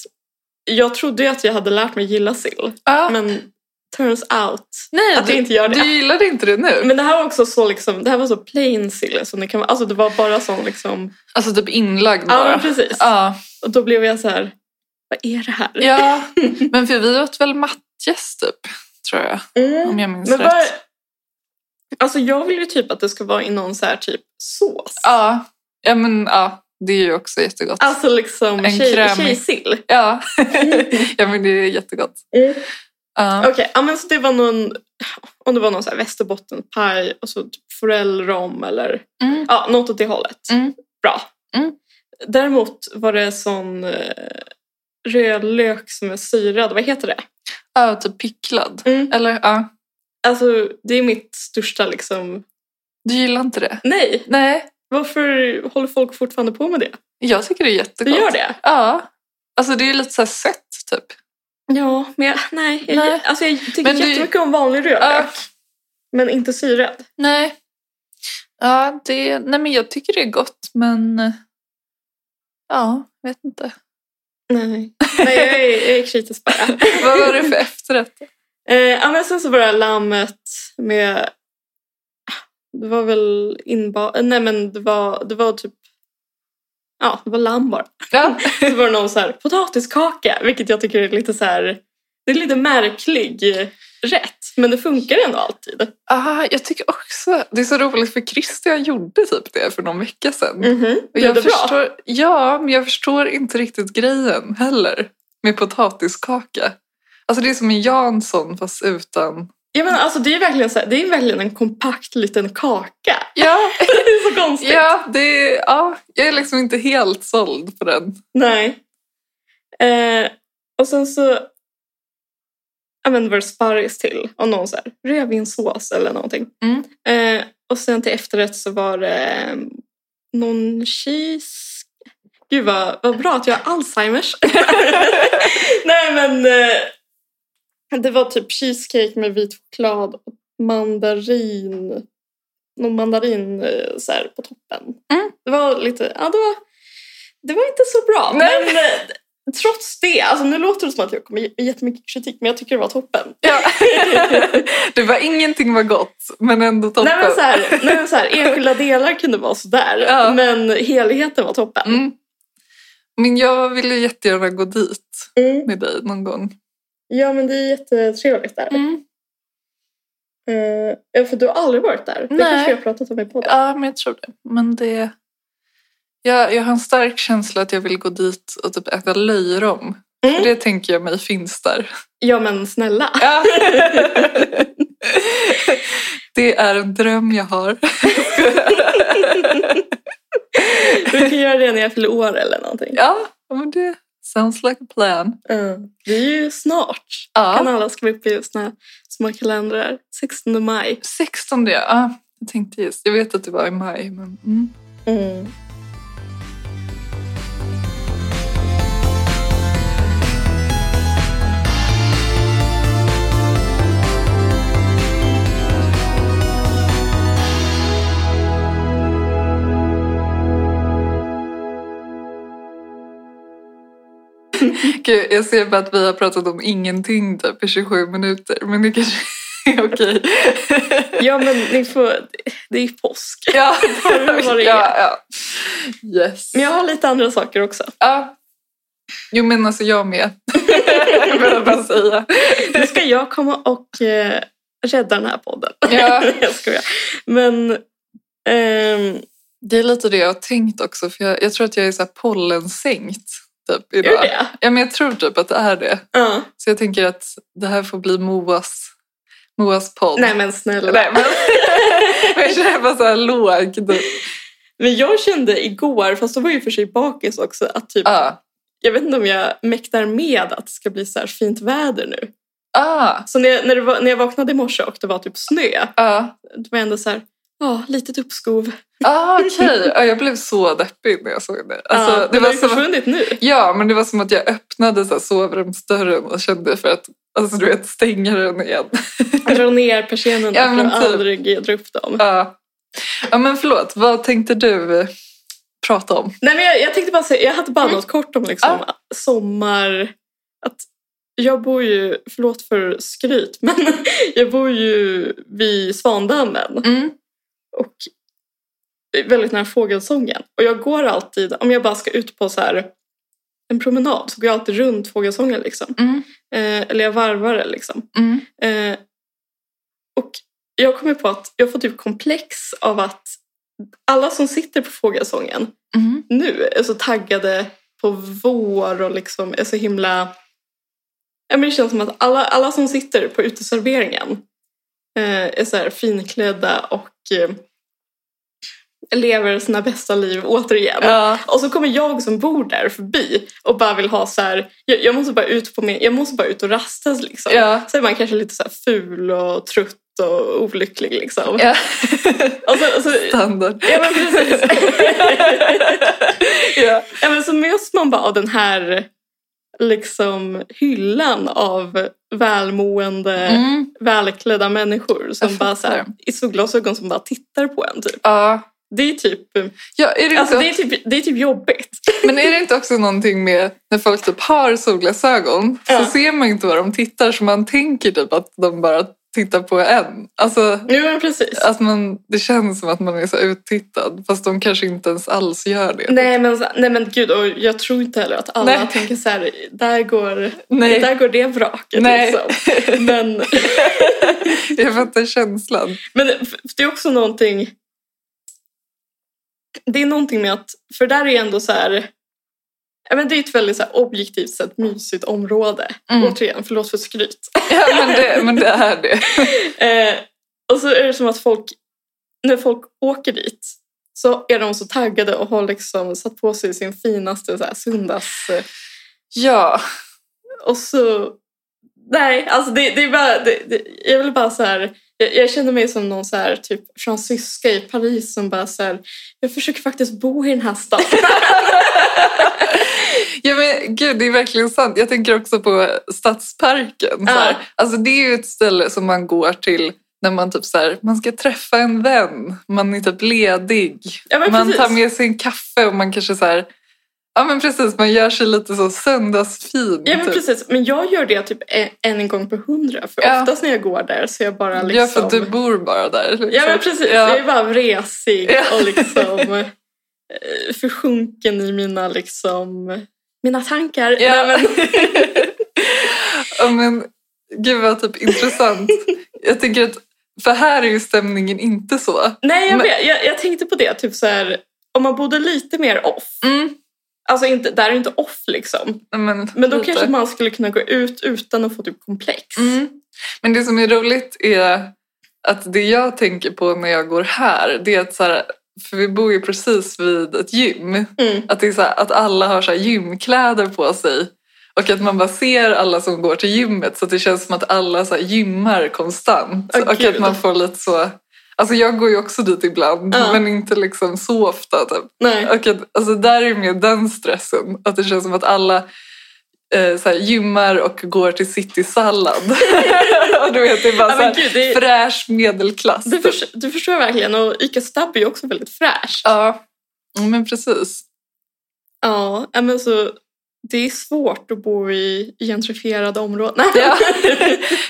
[SPEAKER 1] jag trodde ju att jag hade lärt mig gilla sill.
[SPEAKER 2] Ja.
[SPEAKER 1] Men turns out
[SPEAKER 2] Nej,
[SPEAKER 1] att
[SPEAKER 2] du,
[SPEAKER 1] jag inte Mm. gör det.
[SPEAKER 2] du gillade inte det nu?
[SPEAKER 1] Men det här var också så liksom, det här var så plain sill som det kan vara. Alltså det var bara sån liksom,
[SPEAKER 2] Alltså typ inlagd
[SPEAKER 1] ja men
[SPEAKER 2] bara.
[SPEAKER 1] precis.
[SPEAKER 2] Ja,
[SPEAKER 1] Och då blev jag så här, vad är det här?
[SPEAKER 2] ja. men för vi åt väl matjes typ, tror jag.
[SPEAKER 1] Mm.
[SPEAKER 2] Om jag minns
[SPEAKER 1] Men
[SPEAKER 2] rätt.
[SPEAKER 1] vad, alltså jag vill ju typ att det ska vara i någon så här typ sås.
[SPEAKER 2] Ja, ja men ja. Det är ju också jättegott.
[SPEAKER 1] Alltså liksom
[SPEAKER 2] En
[SPEAKER 1] tjej,
[SPEAKER 2] krämig-
[SPEAKER 1] tjejsill.
[SPEAKER 2] Ja. ja, men det är jättegott.
[SPEAKER 1] Mm.
[SPEAKER 2] Ja.
[SPEAKER 1] Okej, ja, men så det var någon, om det var någon så här västerbottenpaj och så typ forellrom eller
[SPEAKER 2] Mm.
[SPEAKER 1] ja, något åt det hållet.
[SPEAKER 2] Mm.
[SPEAKER 1] Bra.
[SPEAKER 2] Mm.
[SPEAKER 1] Däremot var det sån eh, rödlök som är syrad, vad heter det?
[SPEAKER 2] Ja, typ picklad.
[SPEAKER 1] Mm.
[SPEAKER 2] Eller ja,
[SPEAKER 1] Alltså det är mitt största liksom,
[SPEAKER 2] du gillar inte det?
[SPEAKER 1] nej.
[SPEAKER 2] Nej,
[SPEAKER 1] Varför håller folk fortfarande på med det?
[SPEAKER 2] jag tycker det är
[SPEAKER 1] Du
[SPEAKER 2] jättegott.
[SPEAKER 1] gör det?
[SPEAKER 2] Ja. Alltså det är ju lite så här sött typ.
[SPEAKER 1] Ja, men jag, nej. Jag,
[SPEAKER 2] Nej.
[SPEAKER 1] Alltså, jag tycker
[SPEAKER 2] Men du-
[SPEAKER 1] jättemycket om vanlig rödlök.
[SPEAKER 2] Ja.
[SPEAKER 1] Men inte syrad.
[SPEAKER 2] Nej. Ja, det, nej men jag tycker det är gott men eh, ja, vet inte.
[SPEAKER 1] Nej, nej jag är, jag är kritisk bara.
[SPEAKER 2] Vad var det för efterrätt?
[SPEAKER 1] Eh, ja, men sen så var det lammet med... ah, Det var väl inba... eh, Nej, men det var, det var typ... Ja, det var lamm bara.
[SPEAKER 2] Ja.
[SPEAKER 1] Så var det någon så här potatiskaka, vilket jag tycker är lite så här... Det är lite märklig rätt, men det funkar ändå alltid.
[SPEAKER 2] Aha, Ah, jag tycker också det är så roligt för Christian gjorde typ det för någon vecka sedan.
[SPEAKER 1] mm
[SPEAKER 2] Och
[SPEAKER 1] Blev det
[SPEAKER 2] jag
[SPEAKER 1] bra?
[SPEAKER 2] förstår, ja, men jag förstår inte riktigt grejen heller med potatiskaka. Alltså det är som en Jansson fast utan...
[SPEAKER 1] Ja, men alltså, det, är verkligen så här, det är verkligen en kompakt liten kaka.
[SPEAKER 2] Ja,
[SPEAKER 1] Det är så konstigt.
[SPEAKER 2] ja, det, ja, jag är liksom inte helt såld på den.
[SPEAKER 1] Nej. Eh, och sen så använder vi sparris till och någon så här rödvinssås eller någonting.
[SPEAKER 2] Mm.
[SPEAKER 1] Eh, och sen till efterrätt så var det eh, någon cheese. Gud vad, vad bra att jag har Alzheimers. Nej men eh, det var typ cheesecake med vit choklad och mandarin. Någon mandarin eh, så här, på toppen.
[SPEAKER 2] Mm.
[SPEAKER 1] Det var lite, ja det var, det var inte så bra.
[SPEAKER 2] Nej.
[SPEAKER 1] Men eh, trots det, alltså nu låter det som att jag kommer ge jättemycket kritik men jag tycker det var toppen.
[SPEAKER 2] Ja. Det var ingenting var gott, men ändå toppen.
[SPEAKER 1] Nej men, så här, nej men så här, enskilda delar kunde vara sådär,
[SPEAKER 2] Ja.
[SPEAKER 1] men helheten var toppen.
[SPEAKER 2] mm. Men jag ville jättegärna gå dit
[SPEAKER 1] Mm.
[SPEAKER 2] med dig någon gång.
[SPEAKER 1] Ja men det är jättetrevligt där.
[SPEAKER 2] Mm.
[SPEAKER 1] Eh, Ja för du har aldrig varit där. Det
[SPEAKER 2] Nej.
[SPEAKER 1] kanske vi har pratat om i podden.
[SPEAKER 2] Ja, men jag tror det. Men det... Jag, jag har en stark känsla att jag vill gå dit och typ äta löjrom.
[SPEAKER 1] Mm.
[SPEAKER 2] För det tänker jag mig finns där.
[SPEAKER 1] Ja men snälla.
[SPEAKER 2] Ja. det är en dröm jag har.
[SPEAKER 1] Du kan göra det när jag fyller år eller någonting.
[SPEAKER 2] Ja, men det sounds like a plan.
[SPEAKER 1] Eh, Det är ju snart. Kan
[SPEAKER 2] Ja.
[SPEAKER 1] alla skriva upp i såna små kalendrar. 16 maj.
[SPEAKER 2] 16, ja. Jag tänkte just, jag vet att det var i maj, men mm.
[SPEAKER 1] Mm.
[SPEAKER 2] Gud, jag ser bara att vi har pratat om ingenting typ i 27 minuter, men det kanske är okej.
[SPEAKER 1] Ja men ni får, det är ju påsk.
[SPEAKER 2] Ja,
[SPEAKER 1] Hör vad det är.
[SPEAKER 2] ja, ja. Yes.
[SPEAKER 1] Men jag har lite andra saker också.
[SPEAKER 2] Ja. Jo men alltså jag med. Vill jag bara säga.
[SPEAKER 1] Nu ska jag komma och eh, rädda den här podden.
[SPEAKER 2] Ja.
[SPEAKER 1] jag skojar. Men ehm,
[SPEAKER 2] Det är lite det jag har tänkt också för jag, jag tror att jag är så här pollensänkt typ
[SPEAKER 1] gör
[SPEAKER 2] idag.
[SPEAKER 1] det?
[SPEAKER 2] Ja men jag tror typ att det är det.
[SPEAKER 1] Ja.
[SPEAKER 2] Så jag tänker att det här får bli Moas, Moas podd.
[SPEAKER 1] Nej men snälla.
[SPEAKER 2] Nej, men, men jag känner bara så här låg. typ.
[SPEAKER 1] Men jag kände igår, fast då var jag ju för sig bakis också, att typ,
[SPEAKER 2] Ja.
[SPEAKER 1] jag vet inte om jag mäktar med att det ska bli så här fint väder nu.
[SPEAKER 2] Ah.
[SPEAKER 1] Så när jag, när, det var, när jag vaknade i morse och det var typ snö,
[SPEAKER 2] Ja.
[SPEAKER 1] då var jag ändå så här, ja, litet uppskov.
[SPEAKER 2] Ah, okej. Ja, jag blev så deppig när jag såg det. Alltså,
[SPEAKER 1] ja,
[SPEAKER 2] det,
[SPEAKER 1] men
[SPEAKER 2] var
[SPEAKER 1] har ju
[SPEAKER 2] som att,
[SPEAKER 1] försvunnit nu.
[SPEAKER 2] ja, men det var som att jag öppnade så här, sovrumsdörren och kände för att alltså, du vet, stänga den igen.
[SPEAKER 1] Jag drar ner persiennerna
[SPEAKER 2] Ja, men
[SPEAKER 1] för att
[SPEAKER 2] typ.
[SPEAKER 1] aldrig dra upp dem.
[SPEAKER 2] Ja. ja, men förlåt. Vad tänkte du eh, prata om?
[SPEAKER 1] Nej, men jag, jag tänkte bara säga, jag hade bara
[SPEAKER 2] Mm.
[SPEAKER 1] något kort om liksom, sommar... Att jag bor ju, förlåt för skryt, men jag bor ju vid Svandammen.
[SPEAKER 2] Mm.
[SPEAKER 1] Och väldigt nära fågelsången. Och jag går alltid, om jag bara ska ut på så här en promenad så går jag alltid runt fågelsången. Liksom.
[SPEAKER 2] Mm.
[SPEAKER 1] Eh, eller jag varvar det liksom.
[SPEAKER 2] Mm.
[SPEAKER 1] Eh, och jag kommer på att jag får typ komplex av att alla som sitter på fågelsången
[SPEAKER 2] Mm.
[SPEAKER 1] nu är så taggade på vår och liksom är så himla... Ja, men det känns som att alla, alla som sitter på uteserveringen eh, är så här finklädda och eh, lever sina bästa liv återigen.
[SPEAKER 2] Ja.
[SPEAKER 1] Och så kommer jag som bor där förbi och bara vill ha så här, jag, jag måste bara ut på min, jag måste bara ut och rastas liksom.
[SPEAKER 2] Ja.
[SPEAKER 1] Så är man kanske lite så här ful och trött och olycklig liksom.
[SPEAKER 2] Ja.
[SPEAKER 1] Och
[SPEAKER 2] Alltså,
[SPEAKER 1] så, och så,
[SPEAKER 2] Standard.
[SPEAKER 1] ja men precis.
[SPEAKER 2] ja.
[SPEAKER 1] Ja, men så möts man bara av den här liksom hyllan av välmående,
[SPEAKER 2] Mm.
[SPEAKER 1] välklädda människor som
[SPEAKER 2] Jag
[SPEAKER 1] bara så här,
[SPEAKER 2] fattar.
[SPEAKER 1] i solglasögon som bara tittar på en. Typ.
[SPEAKER 2] ja.
[SPEAKER 1] Det, är typ,
[SPEAKER 2] Ja, är det inte
[SPEAKER 1] alltså, det, är typ, det är typ jobbigt.
[SPEAKER 2] Men är det inte också någonting med när folk typ har solglasögon
[SPEAKER 1] Ja.
[SPEAKER 2] så ser man inte vad de tittar så man tänker typ att de bara tittar på en. Alltså
[SPEAKER 1] Nu men precis.
[SPEAKER 2] att man, det känns som att man är så uttittad fast de kanske inte ens alls gör det.
[SPEAKER 1] Nej men, så- nej men gud, och jag tror inte heller att alla
[SPEAKER 2] Nej.
[SPEAKER 1] tänker så här, där går,
[SPEAKER 2] Nej.
[SPEAKER 1] Där går det vraket.
[SPEAKER 2] Nej.
[SPEAKER 1] Liksom. Men,
[SPEAKER 2] Jag fattar känslan.
[SPEAKER 1] Men det- f- det är också någonting... Det är någonting med att, för där är ändå så här... ja, Men det är ett väldigt så här objektivt sett mysigt område.
[SPEAKER 2] Mm.
[SPEAKER 1] Återigen, förlåt för skryt.
[SPEAKER 2] Ja, men, det, men det är det.
[SPEAKER 1] Eh, och så är det som att folk, när folk åker dit så är de så taggade och har liksom satt på sig sin finaste så här, söndags... eh,
[SPEAKER 2] Ja,
[SPEAKER 1] Och så... Nej, alltså det, det är bara... Det, det, jag vill bara så här... Jag, jag känner mig som någon så här typ fransyska i Paris som bara så här... Jag försöker faktiskt bo i den här staden.
[SPEAKER 2] ja men gud det är verkligen sant. Jag tänker också på Stadsparken. Så här.
[SPEAKER 1] Ja.
[SPEAKER 2] Alltså, det är ju ett ställe som man går till när man typ så här, man ska träffa en vän, man är typ ledig.
[SPEAKER 1] Ja, men
[SPEAKER 2] man
[SPEAKER 1] precis.
[SPEAKER 2] tar med sig en kaffe och man kanske så här, ja men precis, man gör sig lite så söndagsfin.
[SPEAKER 1] Ja, men
[SPEAKER 2] typ.
[SPEAKER 1] precis. Men jag gör det typ en, en gång på hundra. För
[SPEAKER 2] Ja.
[SPEAKER 1] oftast när jag går där så är jag bara liksom...
[SPEAKER 2] Ja, för att du bor bara där. Liksom.
[SPEAKER 1] Ja, men precis.
[SPEAKER 2] Ja.
[SPEAKER 1] Jag är bara vresig
[SPEAKER 2] Ja.
[SPEAKER 1] och liksom eh, försjunken i mina liksom... Mina tankar.
[SPEAKER 2] Ja.
[SPEAKER 1] Nej, men,
[SPEAKER 2] Ja, men gud vad typ intressant. Jag tänker att, för här är ju stämningen inte så.
[SPEAKER 1] nej jag,
[SPEAKER 2] Men-
[SPEAKER 1] vet, jag, jag tänkte på det. Typ så här, om man bodde lite mer off.
[SPEAKER 2] Mm.
[SPEAKER 1] Alltså inte, där är inte off liksom.
[SPEAKER 2] ja, Men,
[SPEAKER 1] Men då
[SPEAKER 2] lite.
[SPEAKER 1] kanske man skulle kunna gå ut utan att få typ komplex.
[SPEAKER 2] Mm. Men det som är roligt är att det jag tänker på när jag går här, det är att så här, för vi bor ju precis vid ett gym.
[SPEAKER 1] Mm.
[SPEAKER 2] Att, det är så här, att alla har så här gymkläder på sig. Och att man bara ser alla som går till gymmet så att det känns som att alla så här gymmar konstant.
[SPEAKER 1] Åh,
[SPEAKER 2] och
[SPEAKER 1] gud.
[SPEAKER 2] att man får lite så... Alltså jag går ju också dit ibland,
[SPEAKER 1] Ja.
[SPEAKER 2] men inte liksom så ofta. Typ.
[SPEAKER 1] Nej.
[SPEAKER 2] Och att, alltså där är mer den stressen. Att det känns som att alla eh, så här, gymmar och går till citysallad. och du vet, det är bara
[SPEAKER 1] Ja,
[SPEAKER 2] så
[SPEAKER 1] men
[SPEAKER 2] här,
[SPEAKER 1] gud, det,
[SPEAKER 2] fräsch medelklass. typ.
[SPEAKER 1] du, förs- du förstår verkligen. Och Ica Stab är ju också väldigt fräsch.
[SPEAKER 2] Ja, men precis.
[SPEAKER 1] Ja, ja, men så det är svårt att bo i gentrifierade områden. Nej.
[SPEAKER 2] Ja.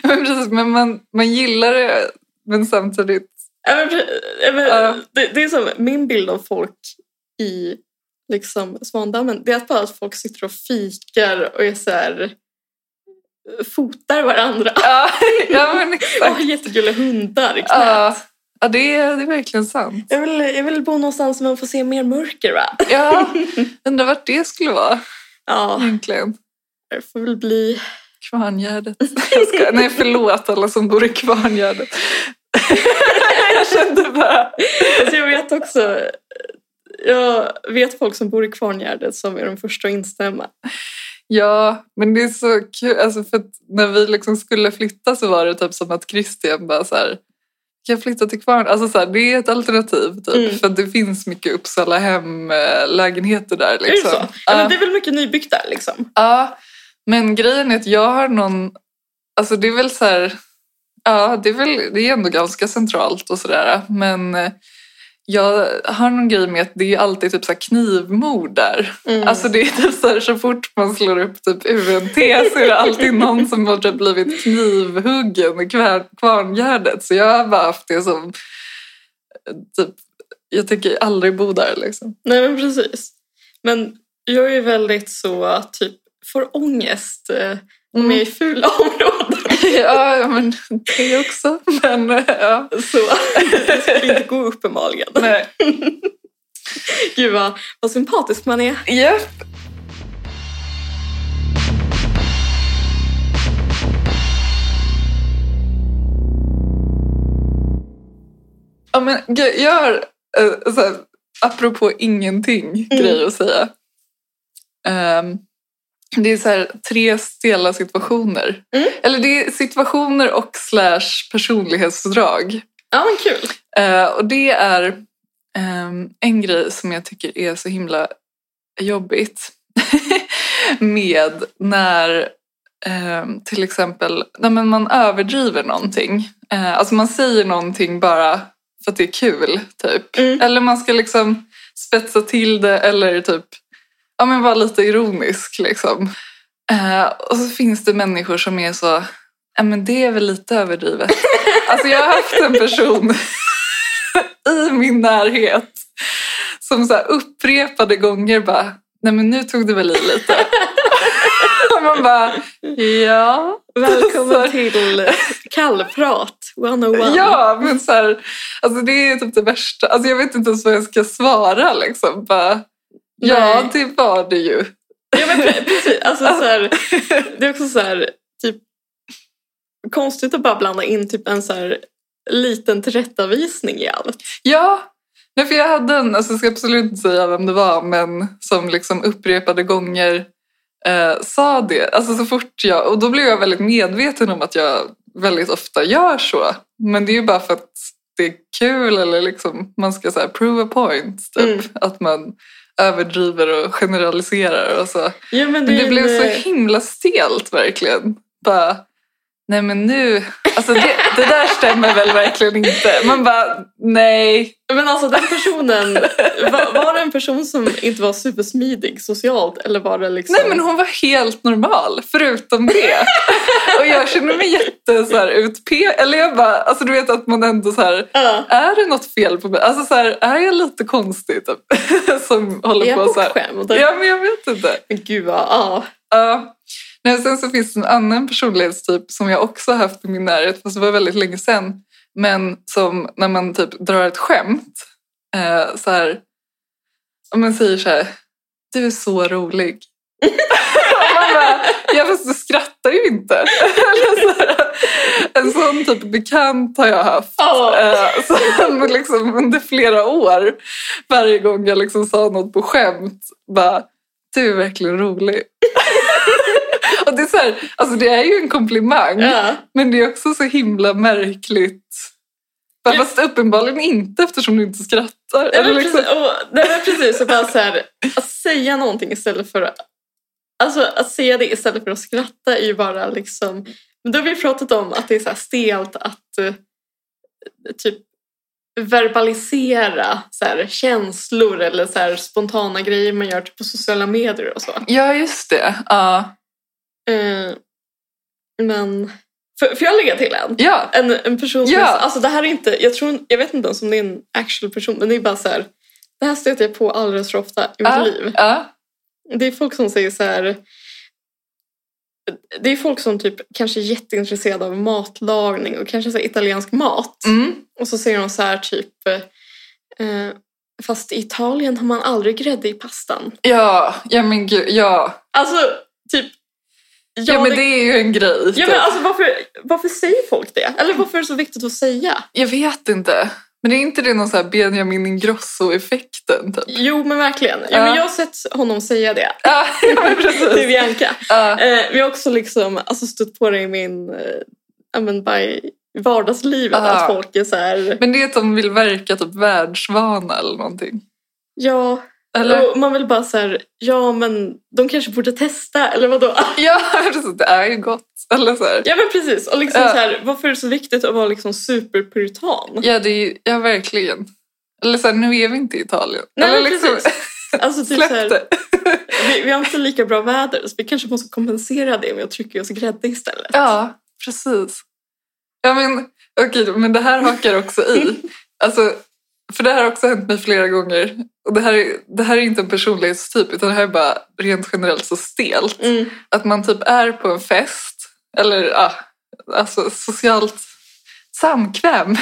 [SPEAKER 2] men precis, men man, man gillar det men samtidigt...
[SPEAKER 1] Ja, men pre- ja, men
[SPEAKER 2] Ja.
[SPEAKER 1] det, det är som min bild av folk i liksom Svandammen. Det är att bara att folk sitter och fikar och är så här, fotar varandra.
[SPEAKER 2] Ja, ja men
[SPEAKER 1] Och
[SPEAKER 2] exakt.
[SPEAKER 1] har jättegulliga hundar i knät.
[SPEAKER 2] Ja, ja det, är, det är verkligen sant.
[SPEAKER 1] Jag vill, jag vill bo någonstans där man får se mer mörker va?
[SPEAKER 2] Ja, undrar vart det skulle vara
[SPEAKER 1] Ja,
[SPEAKER 2] egentligen.
[SPEAKER 1] det får väl bli...
[SPEAKER 2] Kvarngärdet. Jag skojar. Nej, förlåt alla som bor i Kvarngärdet. Jag kände bara...
[SPEAKER 1] Alltså jag vet också... Jag vet folk som bor i Kvarngärdet som är de första att instämma.
[SPEAKER 2] Ja, men det är så kul. Alltså för att när vi liksom skulle flytta så var det typ som att Christian bara så här... Kan jag flytta till Kvarn? Alltså så här, det är ett alternativ typ.
[SPEAKER 1] Mm.
[SPEAKER 2] För att det finns mycket Uppsala hem-lägenheter där.
[SPEAKER 1] Är det
[SPEAKER 2] Liksom.
[SPEAKER 1] så? Ja,
[SPEAKER 2] Ja.
[SPEAKER 1] men det är väl mycket nybyggt där liksom?
[SPEAKER 2] Ja, men grejen är att jag har någon... Alltså det är väl så här... Ja, det är väl det är ändå ganska centralt och sådär. Men eh, jag har någon grej med att det är alltid typ så här knivmord där.
[SPEAKER 1] Mm.
[SPEAKER 2] Alltså det är typ så, här, så fort man slår upp typ UNT så är det alltid någon som har typ blivit knivhuggen i Kvar- Kvarngärdet. Så jag har bara haft det som... eh, Typ, jag tänker aldrig bo där liksom.
[SPEAKER 1] Nej men precis. Men jag Mm. är väldigt så typ får ångest eh, om jag är i fula områden.
[SPEAKER 2] ja, men det också. Men eh, ja.
[SPEAKER 1] Så det skulle inte gå uppenbarligen.
[SPEAKER 2] Nej.
[SPEAKER 1] Gud vad, vad sympatisk man är.
[SPEAKER 2] Japp. Ja, men gud, jag har eh, så här, apropå ingenting grejer att säga. Ehm, det är så här, tre stela situationer.
[SPEAKER 1] Mm.
[SPEAKER 2] Eller det är situationer och slash personlighetsdrag.
[SPEAKER 1] Ja, men kul.
[SPEAKER 2] Eh, och det är ehm, en grej som jag tycker är så himla jobbigt med när ehm, till exempel nej, men man överdriver någonting. Eh, alltså man säger någonting bara för att det är kul, typ.
[SPEAKER 1] Mm.
[SPEAKER 2] Eller man ska liksom spetsa till det eller typ ja, men vara lite ironisk. Liksom. Eh, och så finns det människor som är så, ja men det är väl lite överdrivet. alltså jag har haft en person i min närhet som så här upprepade gånger bara, nej men nu tog du väl i lite. och man bara, ja.
[SPEAKER 1] Välkommen till kallprat 101.
[SPEAKER 2] Ja, men så här, alltså det är typ det värsta. Alltså jag vet inte ens vad jag ska svara. Liksom. Bara, ja,
[SPEAKER 1] Nej.
[SPEAKER 2] det var det ju.
[SPEAKER 1] Ja, men pre- precis. Alltså, så här, det är också så här, typ, konstigt att bara blanda in typ en så här, liten tillrättavisning i allt.
[SPEAKER 2] Ja, nej, för jag hade en, alltså jag ska absolut inte säga vem det var, men som liksom upprepade gånger eh, sa det. Alltså så fort jag, och då blev jag väldigt medveten om att jag väldigt ofta gör så. Men det är ju bara för att det är kul eller liksom, man ska så här, prove a point. Typ.
[SPEAKER 1] Mm.
[SPEAKER 2] Att man överdriver och generaliserar och så.
[SPEAKER 1] Ja, men
[SPEAKER 2] Men
[SPEAKER 1] det,
[SPEAKER 2] det
[SPEAKER 1] är
[SPEAKER 2] blev
[SPEAKER 1] en,
[SPEAKER 2] så
[SPEAKER 1] eh,
[SPEAKER 2] himla stelt verkligen. Bara, nej men nu, alltså det, det där stämmer väl verkligen inte. Man bara, nej.
[SPEAKER 1] Men alltså den personen, var, var det en person som inte var supersmidig socialt eller var det liksom...
[SPEAKER 2] Nej men hon var helt normal, förutom det. Och jag känner mig jätte så här utpe... Eller jag bara, alltså du vet att man ändå så här,
[SPEAKER 1] Ja.
[SPEAKER 2] är det något fel på mig? Alltså så här, är jag lite konstig typ? Som håller
[SPEAKER 1] Är jag
[SPEAKER 2] på så här.
[SPEAKER 1] bortskämd?
[SPEAKER 2] Ja men jag vet inte.
[SPEAKER 1] Men Gud vad, ja.
[SPEAKER 2] Ja. Nej, sen så finns det en annan personlighetstyp som jag också har haft i min närhet, fast det var väldigt länge sedan. Men som när man typ drar ett skämt, eh, så här, om man säger så här, du är så rolig. Och man bara, ja fast du skrattar ju inte. Eller så här, en sån typ bekant har jag haft.
[SPEAKER 1] Ja.
[SPEAKER 2] Eh, Som liksom under flera år, varje gång jag liksom sa något på skämt, bara du är verkligen rolig. och det är, så här, alltså det är ju en komplimang,
[SPEAKER 1] ja.
[SPEAKER 2] men det är också så himla märkligt. Bara,
[SPEAKER 1] Ja.
[SPEAKER 2] Fast uppenbarligen inte eftersom du inte skrattar.
[SPEAKER 1] Nej,
[SPEAKER 2] Eller
[SPEAKER 1] men
[SPEAKER 2] liksom,
[SPEAKER 1] precis, och, nej, men precis så bara så här, att säga någonting istället för att- alltså, att säga det istället för att skratta är ju bara liksom... Men då har vi pratat om att det är så här stelt att eh, typ verbalisera så här, känslor eller så här, spontana grejer man gör typ, på sociala medier och så.
[SPEAKER 2] ja, just det. Ja.
[SPEAKER 1] Eh, men... Får får jag lägga till en?
[SPEAKER 2] ja.
[SPEAKER 1] en, en person som
[SPEAKER 2] Ja.
[SPEAKER 1] är så- alltså det här är inte, jag, tror, jag vet inte ens om det är en actual person, men det är bara så här, det här stöter jag på alldeles för ofta i mitt
[SPEAKER 2] Ja.
[SPEAKER 1] liv.
[SPEAKER 2] Ja.
[SPEAKER 1] Det är folk som säger så här, det är folk som typ kanske är jätteintresserade av matlagning och kanske så här italiensk mat.
[SPEAKER 2] Mm.
[SPEAKER 1] Och så säger de så här typ, eh, fast i Italien har man aldrig grädde i pastan.
[SPEAKER 2] ja, ja men gud, ja.
[SPEAKER 1] Alltså typ,
[SPEAKER 2] Ja, men det är ju en grej.
[SPEAKER 1] ja,
[SPEAKER 2] typ.
[SPEAKER 1] men alltså varför, varför säger folk det? Eller varför är det så viktigt att säga?
[SPEAKER 2] Jag vet inte. Men är inte det någon så här Benjamin Ingrosso-effekten? Typ?
[SPEAKER 1] Jo men verkligen. Jo,
[SPEAKER 2] Ja.
[SPEAKER 1] men jag har sett honom säga det
[SPEAKER 2] Ja, ja, men
[SPEAKER 1] till
[SPEAKER 2] precis.
[SPEAKER 1] Bianca.
[SPEAKER 2] Ja.
[SPEAKER 1] Eh, vi har också liksom, alltså, stött på det i min eh, ja, men, bara i vardagslivet.
[SPEAKER 2] Ja.
[SPEAKER 1] Att folk är så här,
[SPEAKER 2] Men det är att de vill verka typ världsvana eller någonting.
[SPEAKER 1] ja,
[SPEAKER 2] Eller?
[SPEAKER 1] och man vill bara så här, ja men de kanske borde testa eller vadå?
[SPEAKER 2] Ja, precis. Det är ju gott. Eller så här.
[SPEAKER 1] ja men precis, och liksom
[SPEAKER 2] Ja.
[SPEAKER 1] så här, varför är det så viktigt att vara liksom superpuritan?
[SPEAKER 2] Ja, det är ju, ja verkligen. Eller så här, nu är vi inte i Italien.
[SPEAKER 1] Nej,
[SPEAKER 2] eller liksom
[SPEAKER 1] men Alltså, typ så
[SPEAKER 2] släpp
[SPEAKER 1] här,
[SPEAKER 2] det.
[SPEAKER 1] vi, vi har inte lika bra väder så vi kanske måste kompensera det med att trycka i oss grädde istället.
[SPEAKER 2] Ja, precis. Ja, men okej, men det här hakar också i. Alltså, för det här har också hänt mig flera gånger. Och det här är, det här är inte en personlighetstyp, utan det här är bara rent generellt så stelt.
[SPEAKER 1] Mm.
[SPEAKER 2] Att man typ är på en fest, eller ja, alltså, socialt samkväm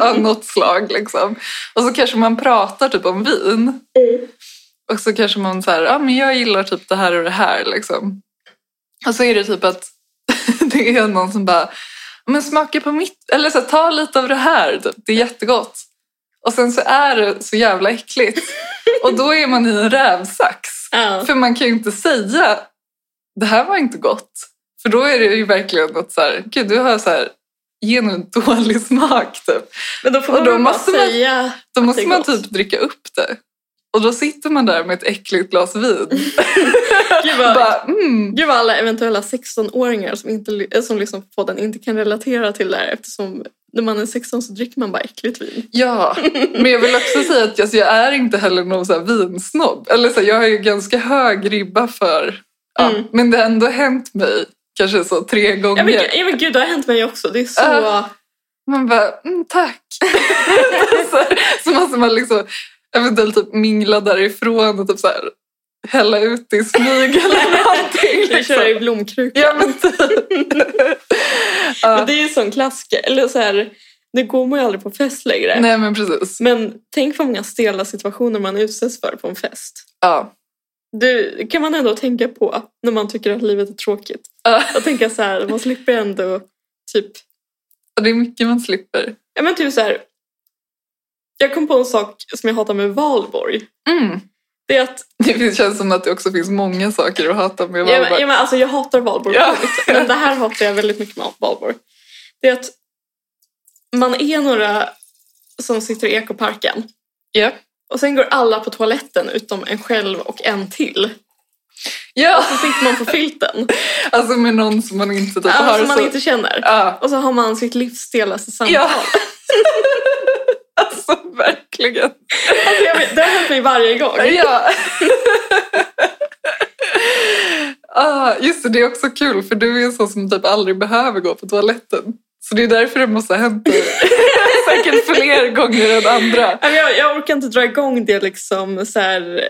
[SPEAKER 2] av något slag. Liksom. Och så kanske man pratar typ om vin. Och så kanske man säger, ja men jag gillar typ det här och det här. Liksom. Och så är det typ att det är någon som bara, men smaka på mitt, eller så här, ta lite av det här, typ. det är jättegott. Och sen så är det så jävla äckligt. Och då är man i en rävsax.
[SPEAKER 1] Ja.
[SPEAKER 2] För man kan ju inte säga det här var inte gott. För då är det ju verkligen att så här, gud du har så här genuint dålig smak typ.
[SPEAKER 1] Men då får
[SPEAKER 2] Och
[SPEAKER 1] man
[SPEAKER 2] då
[SPEAKER 1] väl
[SPEAKER 2] måste
[SPEAKER 1] bara
[SPEAKER 2] man-
[SPEAKER 1] säga...
[SPEAKER 2] Då
[SPEAKER 1] det
[SPEAKER 2] måste
[SPEAKER 1] är
[SPEAKER 2] man
[SPEAKER 1] gott.
[SPEAKER 2] typ dricka upp det. Och då sitter man där med ett äckligt glas vin.
[SPEAKER 1] Gud
[SPEAKER 2] Och
[SPEAKER 1] vad,
[SPEAKER 2] bara, mm.
[SPEAKER 1] gud vad alla eventuella 16-åringar som, inte, ly- eh, som lyssnar på podden inte kan relatera till det här eftersom när man är 16 så dricker man bara äckligt vin.
[SPEAKER 2] Ja, men jag vill också säga att alltså, jag är inte heller någon så här vinsnobb. Eller så här, jag har ju ganska hög ribba för... Ja,
[SPEAKER 1] Mm.
[SPEAKER 2] Men det har ändå hänt mig kanske så tre
[SPEAKER 1] Ja
[SPEAKER 2] gånger.
[SPEAKER 1] men, gud- ja, men gud, det har hänt mig också. Det är så...
[SPEAKER 2] Ja. Man bara, mm, tack. så, här, så måste man liksom eventuellt typ mingla därifrån och typ så här, hälla ut i smyg eller någonting.
[SPEAKER 1] Jag kör
[SPEAKER 2] Liksom.
[SPEAKER 1] i blomkruka.
[SPEAKER 2] Ja, men typ. Ja.
[SPEAKER 1] Men det är ju sån klassiker. Eller så här, nu går man ju aldrig på fest längre.
[SPEAKER 2] Nej, men precis.
[SPEAKER 1] Men tänk vad många stela situationer man utsätts för på en fest.
[SPEAKER 2] Ja.
[SPEAKER 1] Det kan man ändå tänka på när man tycker att livet är tråkigt.
[SPEAKER 2] Ja.
[SPEAKER 1] Och tänka så här, man slipper ändå typ...
[SPEAKER 2] Och Det är mycket man slipper.
[SPEAKER 1] Ja men typ så här... Jag kom på en sak som jag hatar med valborg.
[SPEAKER 2] Mm.
[SPEAKER 1] Det är att...
[SPEAKER 2] Det finns- känns som att det också finns många saker att hata med
[SPEAKER 1] Ja, men,
[SPEAKER 2] Valborg.
[SPEAKER 1] ja, men, alltså, jag hatar valborg.
[SPEAKER 2] Ja.
[SPEAKER 1] punkt. Men det här hatar jag väldigt mycket med valborg. Det är att man är några som sitter i ekoparken.
[SPEAKER 2] Ja.
[SPEAKER 1] Och sen går alla på toaletten utom en själv och en till.
[SPEAKER 2] ja,
[SPEAKER 1] Så sitter man på filten.
[SPEAKER 2] alltså med någon som man inte typ
[SPEAKER 1] Alla
[SPEAKER 2] har
[SPEAKER 1] som man
[SPEAKER 2] så...
[SPEAKER 1] inte känner.
[SPEAKER 2] Ja.
[SPEAKER 1] Och så har man sitt livs stelaste samtal.
[SPEAKER 2] ja. alltså verkligen.
[SPEAKER 1] Alltså, jag vet, det har hänt mig varje gång.
[SPEAKER 2] Ja. ah, just det, det är också kul för du är en sån som typ aldrig behöver gå på toaletten. Så det är därför det måste ha hänt dig. Säkert fler gånger än andra.
[SPEAKER 1] Nej, men Alltså, Jag, jag orkar inte dra igång det liksom, så här,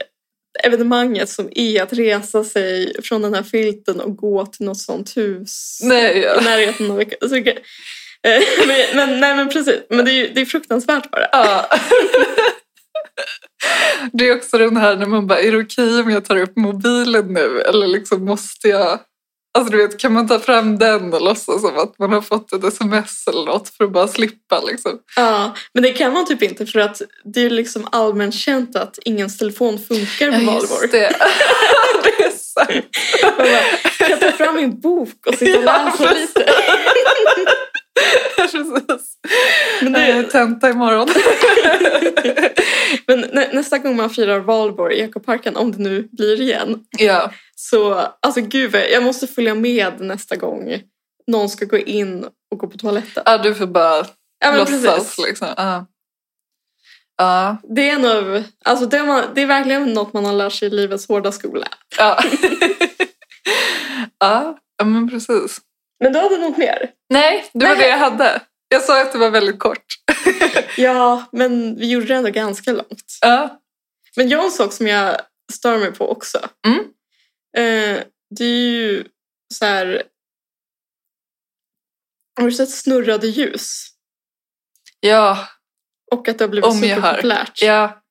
[SPEAKER 1] evenemanget som är att resa sig från den här filten och gå till något sånt hus
[SPEAKER 2] Nej,
[SPEAKER 1] i
[SPEAKER 2] ja.
[SPEAKER 1] närheten av... Så, okej. Eh, men, men, nej, men precis. Men det är, ju- det är fruktansvärt bara.
[SPEAKER 2] Ja. Ah. Det är också den här när man bara, är det okej om jag tar upp mobilen nu? Eller liksom måste jag... Alltså du vet, kan man ta fram den och låtsas som att man har fått ett sms eller något för att bara slippa liksom?
[SPEAKER 1] Ja, men det kan man typ inte för att det är liksom allmänt känt att ingens telefon funkar på valborg.
[SPEAKER 2] det. det är sant.
[SPEAKER 1] Man bara, Kan jag ta fram min bok och sitta och
[SPEAKER 2] Ja,
[SPEAKER 1] läsa
[SPEAKER 2] precis.
[SPEAKER 1] lite?
[SPEAKER 2] Precis.
[SPEAKER 1] Men,
[SPEAKER 2] Det är
[SPEAKER 1] det,
[SPEAKER 2] tenta imorgon.
[SPEAKER 1] men nä, nästa gång man firar valborg i ekoparken, om det nu blir igen,
[SPEAKER 2] ja.
[SPEAKER 1] så alltså gud, vad- jag måste följa med nästa gång någon ska gå in och gå på toaletten.
[SPEAKER 2] ja, du får bara
[SPEAKER 1] Ja, men
[SPEAKER 2] låtsas.
[SPEAKER 1] precis.
[SPEAKER 2] Liksom. Ja. Ja.
[SPEAKER 1] Det är, en av, alltså det, var, det är verkligen något man har lärt sig i livets hårda skola.
[SPEAKER 2] Ja. ja. ja, men precis.
[SPEAKER 1] Men du hade något mer?
[SPEAKER 2] Nej, det var
[SPEAKER 1] Nej.
[SPEAKER 2] det jag hade. Jag sa att det var väldigt kort.
[SPEAKER 1] Ja, men vi gjorde det ändå ganska långt.
[SPEAKER 2] Ja.
[SPEAKER 1] Men jag har en sak som jag stör mig på också.
[SPEAKER 2] Mm.
[SPEAKER 1] Eh, det är ju så här... Har du sett snurrade ljus?
[SPEAKER 2] Ja.
[SPEAKER 1] Och att det har blivit
[SPEAKER 2] Om jag har.
[SPEAKER 1] superpopulärt.
[SPEAKER 2] ja.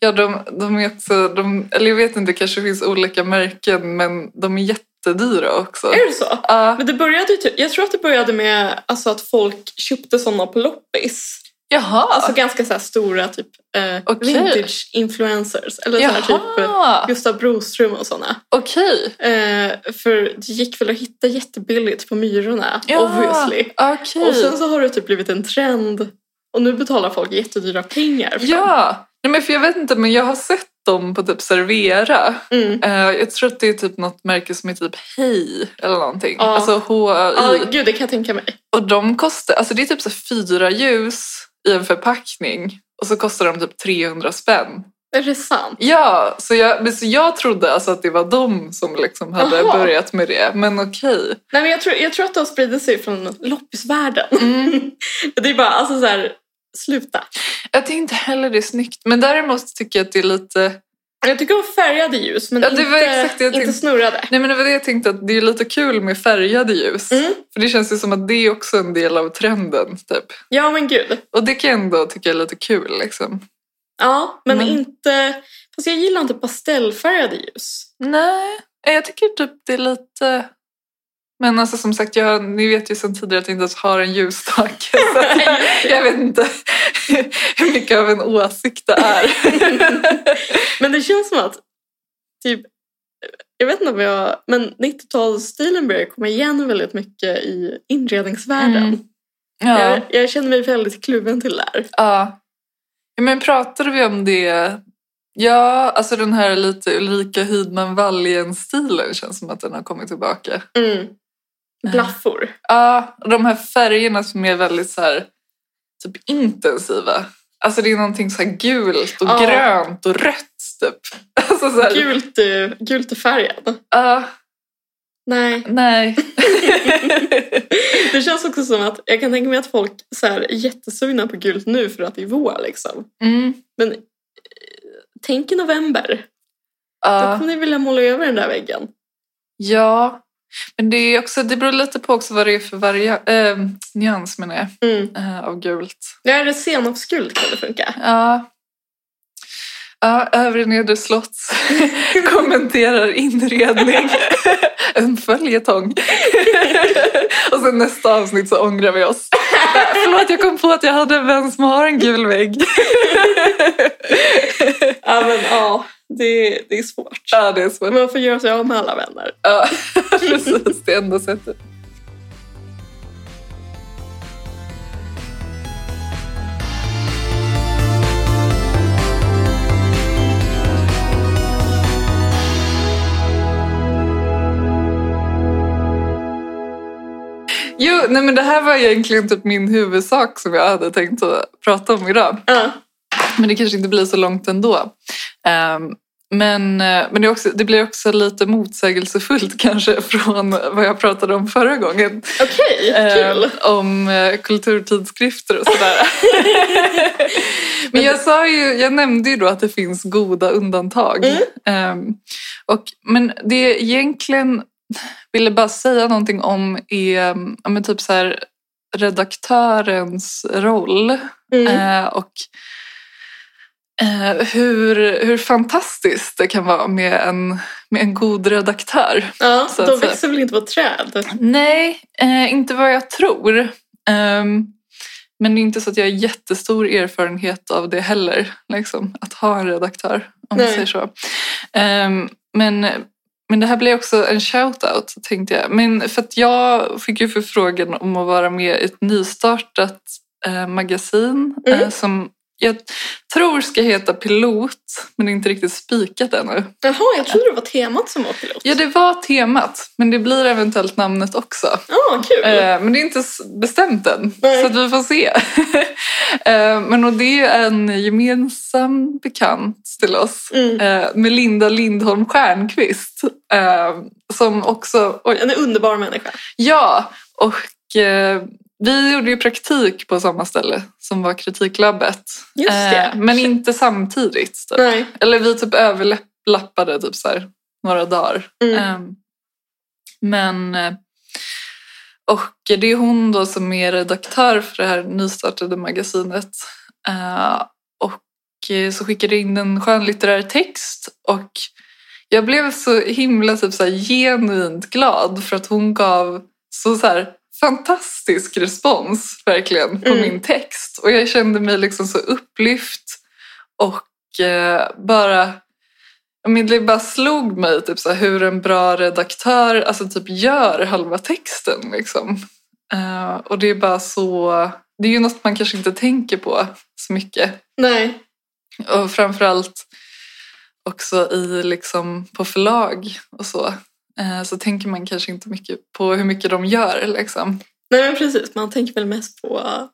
[SPEAKER 2] Ja, de, de är också, de, eller jag vet inte, det kanske finns olika märken, men de är jättedyra också.
[SPEAKER 1] Är det så?
[SPEAKER 2] Ja.
[SPEAKER 1] Men det började ju typ, jag tror att det började med alltså, att folk köpte sådana på loppis.
[SPEAKER 2] Jaha.
[SPEAKER 1] Alltså ganska så här stora typ eh,
[SPEAKER 2] Okej.
[SPEAKER 1] vintage-influencers. Eller så här, typ eh,
[SPEAKER 2] Jaha.
[SPEAKER 1] Gustav Broström och sådana.
[SPEAKER 2] Okej.
[SPEAKER 1] Eh, för det gick väl att hitta jättebilligt på Myrorna,
[SPEAKER 2] Ja.
[SPEAKER 1] obviously.
[SPEAKER 2] Okej.
[SPEAKER 1] Och sen så har det typ blivit en trend och nu betalar folk jättedyra pengar för dem.
[SPEAKER 2] Ja, Nej, men för jag vet inte men jag har sett dem på typ Servera.
[SPEAKER 1] Mm.
[SPEAKER 2] Eh, jag tror att det är typ något märke som är typ Hej eller någonting.
[SPEAKER 1] Ja.
[SPEAKER 2] Alltså
[SPEAKER 1] Ja,
[SPEAKER 2] HI.
[SPEAKER 1] gud, det kan jag tänka mig.
[SPEAKER 2] Och de kostar, alltså det är typ så fyra ljus i en förpackning och så kostar de typ 300 spänn.
[SPEAKER 1] Är det sant?
[SPEAKER 2] Ja, så jag, men så jag trodde alltså att det var de som liksom hade
[SPEAKER 1] Jaha.
[SPEAKER 2] börjat med det. Men okej.
[SPEAKER 1] Nej, men jag, tror, jag tror att det har spridit sig från loppisvärlden.
[SPEAKER 2] Mm.
[SPEAKER 1] Det är bara, alltså så här, sluta.
[SPEAKER 2] Jag tycker inte heller det är snyggt. Men däremot tycker jag att det är lite
[SPEAKER 1] Jag tycker om färgade ljus, men
[SPEAKER 2] Ja, det
[SPEAKER 1] inte,
[SPEAKER 2] var exakt det jag
[SPEAKER 1] inte
[SPEAKER 2] tänkte.
[SPEAKER 1] snurrade.
[SPEAKER 2] Nej men det var det jag tänkte att det är lite kul med färgade ljus.
[SPEAKER 1] Mm.
[SPEAKER 2] För det känns ju som att det är också en del av trenden typ.
[SPEAKER 1] Ja, men gud.
[SPEAKER 2] Och det kan jag ändå tycka är lite kul liksom.
[SPEAKER 1] Ja, men
[SPEAKER 2] Mm.
[SPEAKER 1] inte... Fast jag gillar inte pastellfärgade ljus.
[SPEAKER 2] Nej, jag tycker typ det är lite... Men alltså som sagt, jag, ni vet ju sedan tidigare att jag inte ens har en ljusstake. Så att jag, jag vet inte hur mycket av en åsikt det är.
[SPEAKER 1] Men det känns som att typ... Jag vet inte om jag... Men 90-talsstilen börjar komma igen väldigt mycket i inredningsvärlden.
[SPEAKER 2] Mm. ja.
[SPEAKER 1] Jag, jag känner mig väldigt kluven till det här.
[SPEAKER 2] ja. Ja, Men pratade vi om det? Ja, alltså den här lite Ulrika Hydman Wallien-stilen känns som att den har kommit tillbaka.
[SPEAKER 1] Mm. Blaffor.
[SPEAKER 2] Ja, och de här färgerna som är väldigt så här, typ intensiva. Alltså det är någonting så här gult och
[SPEAKER 1] Ja.
[SPEAKER 2] grönt och rött typ. Alltså så här,
[SPEAKER 1] Gult, eh, gult är färgen.
[SPEAKER 2] ja,
[SPEAKER 1] Nej.
[SPEAKER 2] nej.
[SPEAKER 1] det känns också som att jag kan tänka mig att folk så här, är jättesugna på gult nu för att det är vår. Liksom.
[SPEAKER 2] Mm,
[SPEAKER 1] Men eh, tänk i november. Då
[SPEAKER 2] ja.
[SPEAKER 1] kommer ni vilja måla över den där väggen.
[SPEAKER 2] ja, men det, är också, det beror lite på också vad det är för varia, eh, nyans menar jag,
[SPEAKER 1] Mm.
[SPEAKER 2] eh, av gult.
[SPEAKER 1] Ja, är det senapsgult kan det funka.
[SPEAKER 2] Ja. Ja, övre nedre slotts kommenterar inredning. en följetong. och sen nästa avsnitt så ångrar vi oss. Förlåt, jag kom på att jag hade en vän som har en gul vägg.
[SPEAKER 1] Ja, men ja, det, det är svårt.
[SPEAKER 2] ja, det är svårt.
[SPEAKER 1] Man får göra sig av med alla vänner.
[SPEAKER 2] Ja, precis. Det är enda sättet. Jo, nej men det här var egentligen typ min huvudsak som jag hade tänkt att prata om idag.
[SPEAKER 1] Ja.
[SPEAKER 2] Men det kanske inte blir så långt ändå. Ehm, men eh, men det, är också, det blir också lite motsägelsefullt kanske från vad jag pratade om förra gången.
[SPEAKER 1] Okej,
[SPEAKER 2] Ehm,
[SPEAKER 1] kul.
[SPEAKER 2] om eh, kulturtidskrifter och sådär. men jag, sa ju, jag nämnde ju då att det finns goda undantag.
[SPEAKER 1] Mm.
[SPEAKER 2] Ehm, och, men det jag egentligen ville bara säga någonting om är ja, men typ så här, redaktörens roll.
[SPEAKER 1] Mm.
[SPEAKER 2] Eh, och eh, hur, hur fantastiskt det kan vara med en, med en god redaktör.
[SPEAKER 1] Ja,
[SPEAKER 2] så att
[SPEAKER 1] de
[SPEAKER 2] säga.
[SPEAKER 1] växer väl inte på träd?
[SPEAKER 2] Nej, eh, inte vad jag tror. Ehm, men det är inte så att jag har jättestor erfarenhet av det heller, liksom, att ha en redaktör, om man
[SPEAKER 1] Nej.
[SPEAKER 2] säger så. Ehm, men, men det här blir också en shout-out, tänkte jag. Men för att jag fick ju förfrågan om att vara med i ett nystartat eh, magasin
[SPEAKER 1] Mm.
[SPEAKER 2] eh, som jag tror ska heta Pilot, men det är inte riktigt spikat ännu.
[SPEAKER 1] Jaha, jag trodde det var temat som var pilot.
[SPEAKER 2] Ja, det var temat, men det blir eventuellt namnet också.
[SPEAKER 1] Ja, Ah, kul.
[SPEAKER 2] Eh, Men det är inte s- bestämt än,
[SPEAKER 1] Nej.
[SPEAKER 2] så att vi får se. Eh, Men och det är en gemensam bekant till oss,
[SPEAKER 1] Mm.
[SPEAKER 2] eh, Melinda Lindholm Stjernqvist, eh, som också... Oj,
[SPEAKER 1] En underbar människa.
[SPEAKER 2] ja, och eh, vi gjorde ju praktik på samma ställe som var Kritiklabbet.
[SPEAKER 1] Just det. Mm.
[SPEAKER 2] Eh, Men inte samtidigt. Typ.
[SPEAKER 1] Nej.
[SPEAKER 2] Eller vi typ överlappade typ så här, några dagar.
[SPEAKER 1] Mm.
[SPEAKER 2] Ehm, men... eh, Och det är hon då som är redaktör för det här nystartade magasinet. Eh, och eh, så skickade jag in en skönlitterär text och jag blev så himla typ så här, genuint glad för att hon gav så, så här, fantastisk respons verkligen på
[SPEAKER 1] Mm.
[SPEAKER 2] min text. Och jag kände mig liksom så upplyft och eh, bara jag menar, det bara slog mig typ så här, hur en bra redaktör alltså, typ gör halva texten. Liksom. Eh, och det är bara så... Det är ju något man kanske inte tänker på så mycket.
[SPEAKER 1] Nej.
[SPEAKER 2] Och framförallt också i, liksom, på förlag och så. Eh, så tänker man kanske inte mycket på hur mycket de gör. Liksom.
[SPEAKER 1] Nej, men precis. Man tänker väl mest på eh,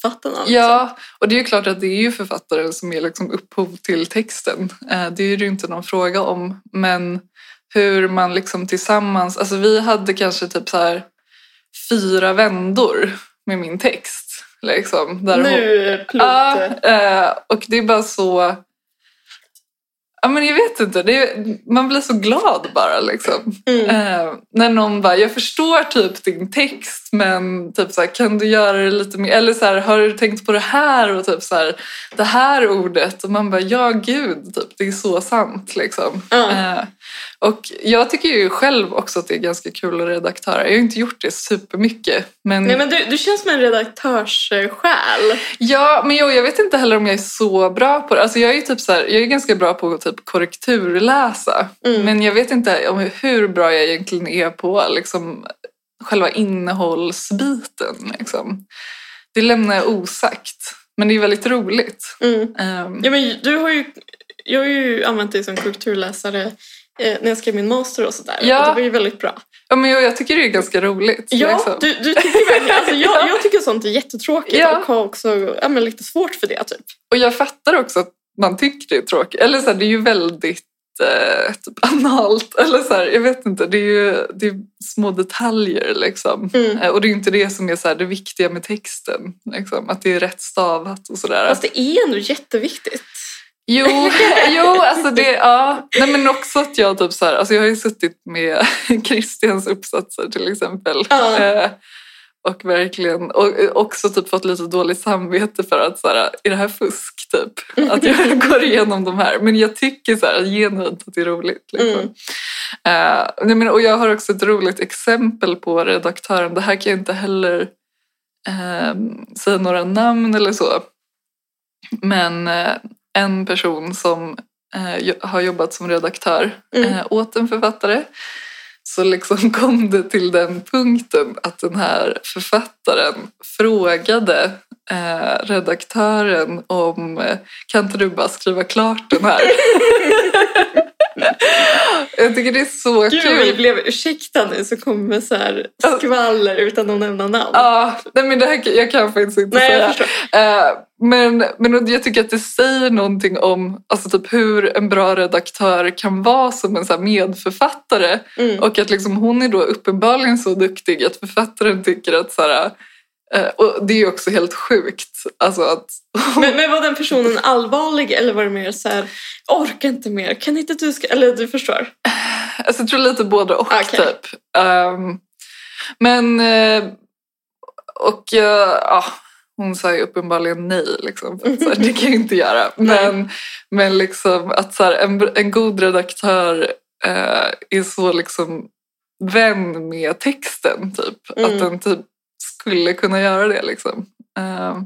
[SPEAKER 1] författarna. liksom.
[SPEAKER 2] Ja, och det är ju klart att det är ju författaren som är liksom upphov till texten. Eh, Det är det ju inte någon fråga om. Men hur man liksom tillsammans... Alltså vi hade kanske typ så här fyra vändor med min text. Liksom, där hon-
[SPEAKER 1] Nu är det pilot.
[SPEAKER 2] Ja, eh, och det är bara så... Ja, men jag vet inte, det är, man blir så glad bara liksom.
[SPEAKER 1] Mm.
[SPEAKER 2] Eh, när någon bara, jag förstår typ din text men typ så här, kan du göra det lite mer? Eller så här, har du tänkt på det här? Och typ så här, det här ordet. Och man bara, ja gud, typ, det är så sant liksom.
[SPEAKER 1] Ja.
[SPEAKER 2] Eh, och jag tycker ju själv också att det är ganska kul att redaktöra. Jag har ju inte gjort det supermycket. Men,
[SPEAKER 1] Nej, men du, du känns som en redaktörssjäl.
[SPEAKER 2] Ja, men jo, jag vet inte heller om jag är så bra på det. Alltså jag är ju typ så här, jag är ganska bra på att typ korrekturläsa.
[SPEAKER 1] Mm.
[SPEAKER 2] Men jag vet inte om hur bra jag egentligen är på liksom, själva innehållsbiten. Liksom. Det lämnar jag osagt. Men det är väldigt roligt.
[SPEAKER 1] Mm.
[SPEAKER 2] Ehm,
[SPEAKER 1] Ja, men du har ju, jag har ju använt dig som korrekturläsare eh, när jag skrev min master och sådär.
[SPEAKER 2] Ja.
[SPEAKER 1] Och det var ju väldigt bra.
[SPEAKER 2] ja, men jag, jag tycker det är ganska roligt.
[SPEAKER 1] Ja,
[SPEAKER 2] liksom.
[SPEAKER 1] du, du tycker verkligen... Alltså, jag,
[SPEAKER 2] Ja.
[SPEAKER 1] jag tycker sånt är jättetråkigt
[SPEAKER 2] Ja.
[SPEAKER 1] och har också ja, men lite svårt för det. Typ.
[SPEAKER 2] Och jag fattar också att man tycker det är tråkigt. Eller så här, det är ju väldigt eh, typ analt. Eller så här, jag vet inte, det är ju det är små detaljer liksom.
[SPEAKER 1] Mm.
[SPEAKER 2] Eh, Och det är ju inte det som är så här, det viktiga med texten. Liksom. Att det är rätt stavat och sådär. Alltså,
[SPEAKER 1] Fast det är ändå jätteviktigt.
[SPEAKER 2] Jo, jo alltså det, ja. Nej, men också att jag typ så här, alltså jag har ju suttit med Christians uppsatser till exempel.
[SPEAKER 1] Ja.
[SPEAKER 2] Eh, Och verkligen, och eh, också typ fått lite dåligt samvete för att så här, är det här fusk
[SPEAKER 1] Mm.
[SPEAKER 2] typ? Att jag går igenom de här. Men jag tycker så här genuint att det är roligt. Liksom.
[SPEAKER 1] Mm.
[SPEAKER 2] Eh, nej, men, och jag har också ett roligt exempel på redaktören. Det här kan jag inte heller ehm, säga några namn eller så. Men eh, en person som eh, jo- har jobbat som redaktör
[SPEAKER 1] Mm.
[SPEAKER 2] eh, åt en författare. Så liksom kom det till den punkten att den här författaren frågade eh, redaktören om eh, kan inte du bara skriva klart den här? Jag tycker det är så
[SPEAKER 1] Gud, vi
[SPEAKER 2] kul.
[SPEAKER 1] blev ursäkta nu så kommer med så här skvaller utan att nämna namn.
[SPEAKER 2] Ja, nej men det här, kan- jag kan faktiskt inte
[SPEAKER 1] Nej,
[SPEAKER 2] säga.
[SPEAKER 1] jag förstår.
[SPEAKER 2] Eh, men, men jag tycker att det säger någonting om alltså typ hur en bra redaktör kan vara som en så här medförfattare.
[SPEAKER 1] Mm.
[SPEAKER 2] Och att liksom hon är då uppenbarligen så duktig att författaren tycker att... Så här, eh, och det är ju också helt sjukt. Alltså att,
[SPEAKER 1] Men, men var den personen allvarlig eller var det mer så här, orkar inte mer, kan inte du... Ska... Eller du förstår.
[SPEAKER 2] alltså jag tror lite både och
[SPEAKER 1] Okej.
[SPEAKER 2] typ. Ehm, men... eh, och eh, ja, hon sa ju uppenbarligen nej. Liksom, för att, så här, det kan jag inte göra. Men, men liksom att så här, en, en god redaktör eh, är så liksom vän med texten. typ.
[SPEAKER 1] Mm.
[SPEAKER 2] Att den typ skulle kunna göra det. liksom. Eh,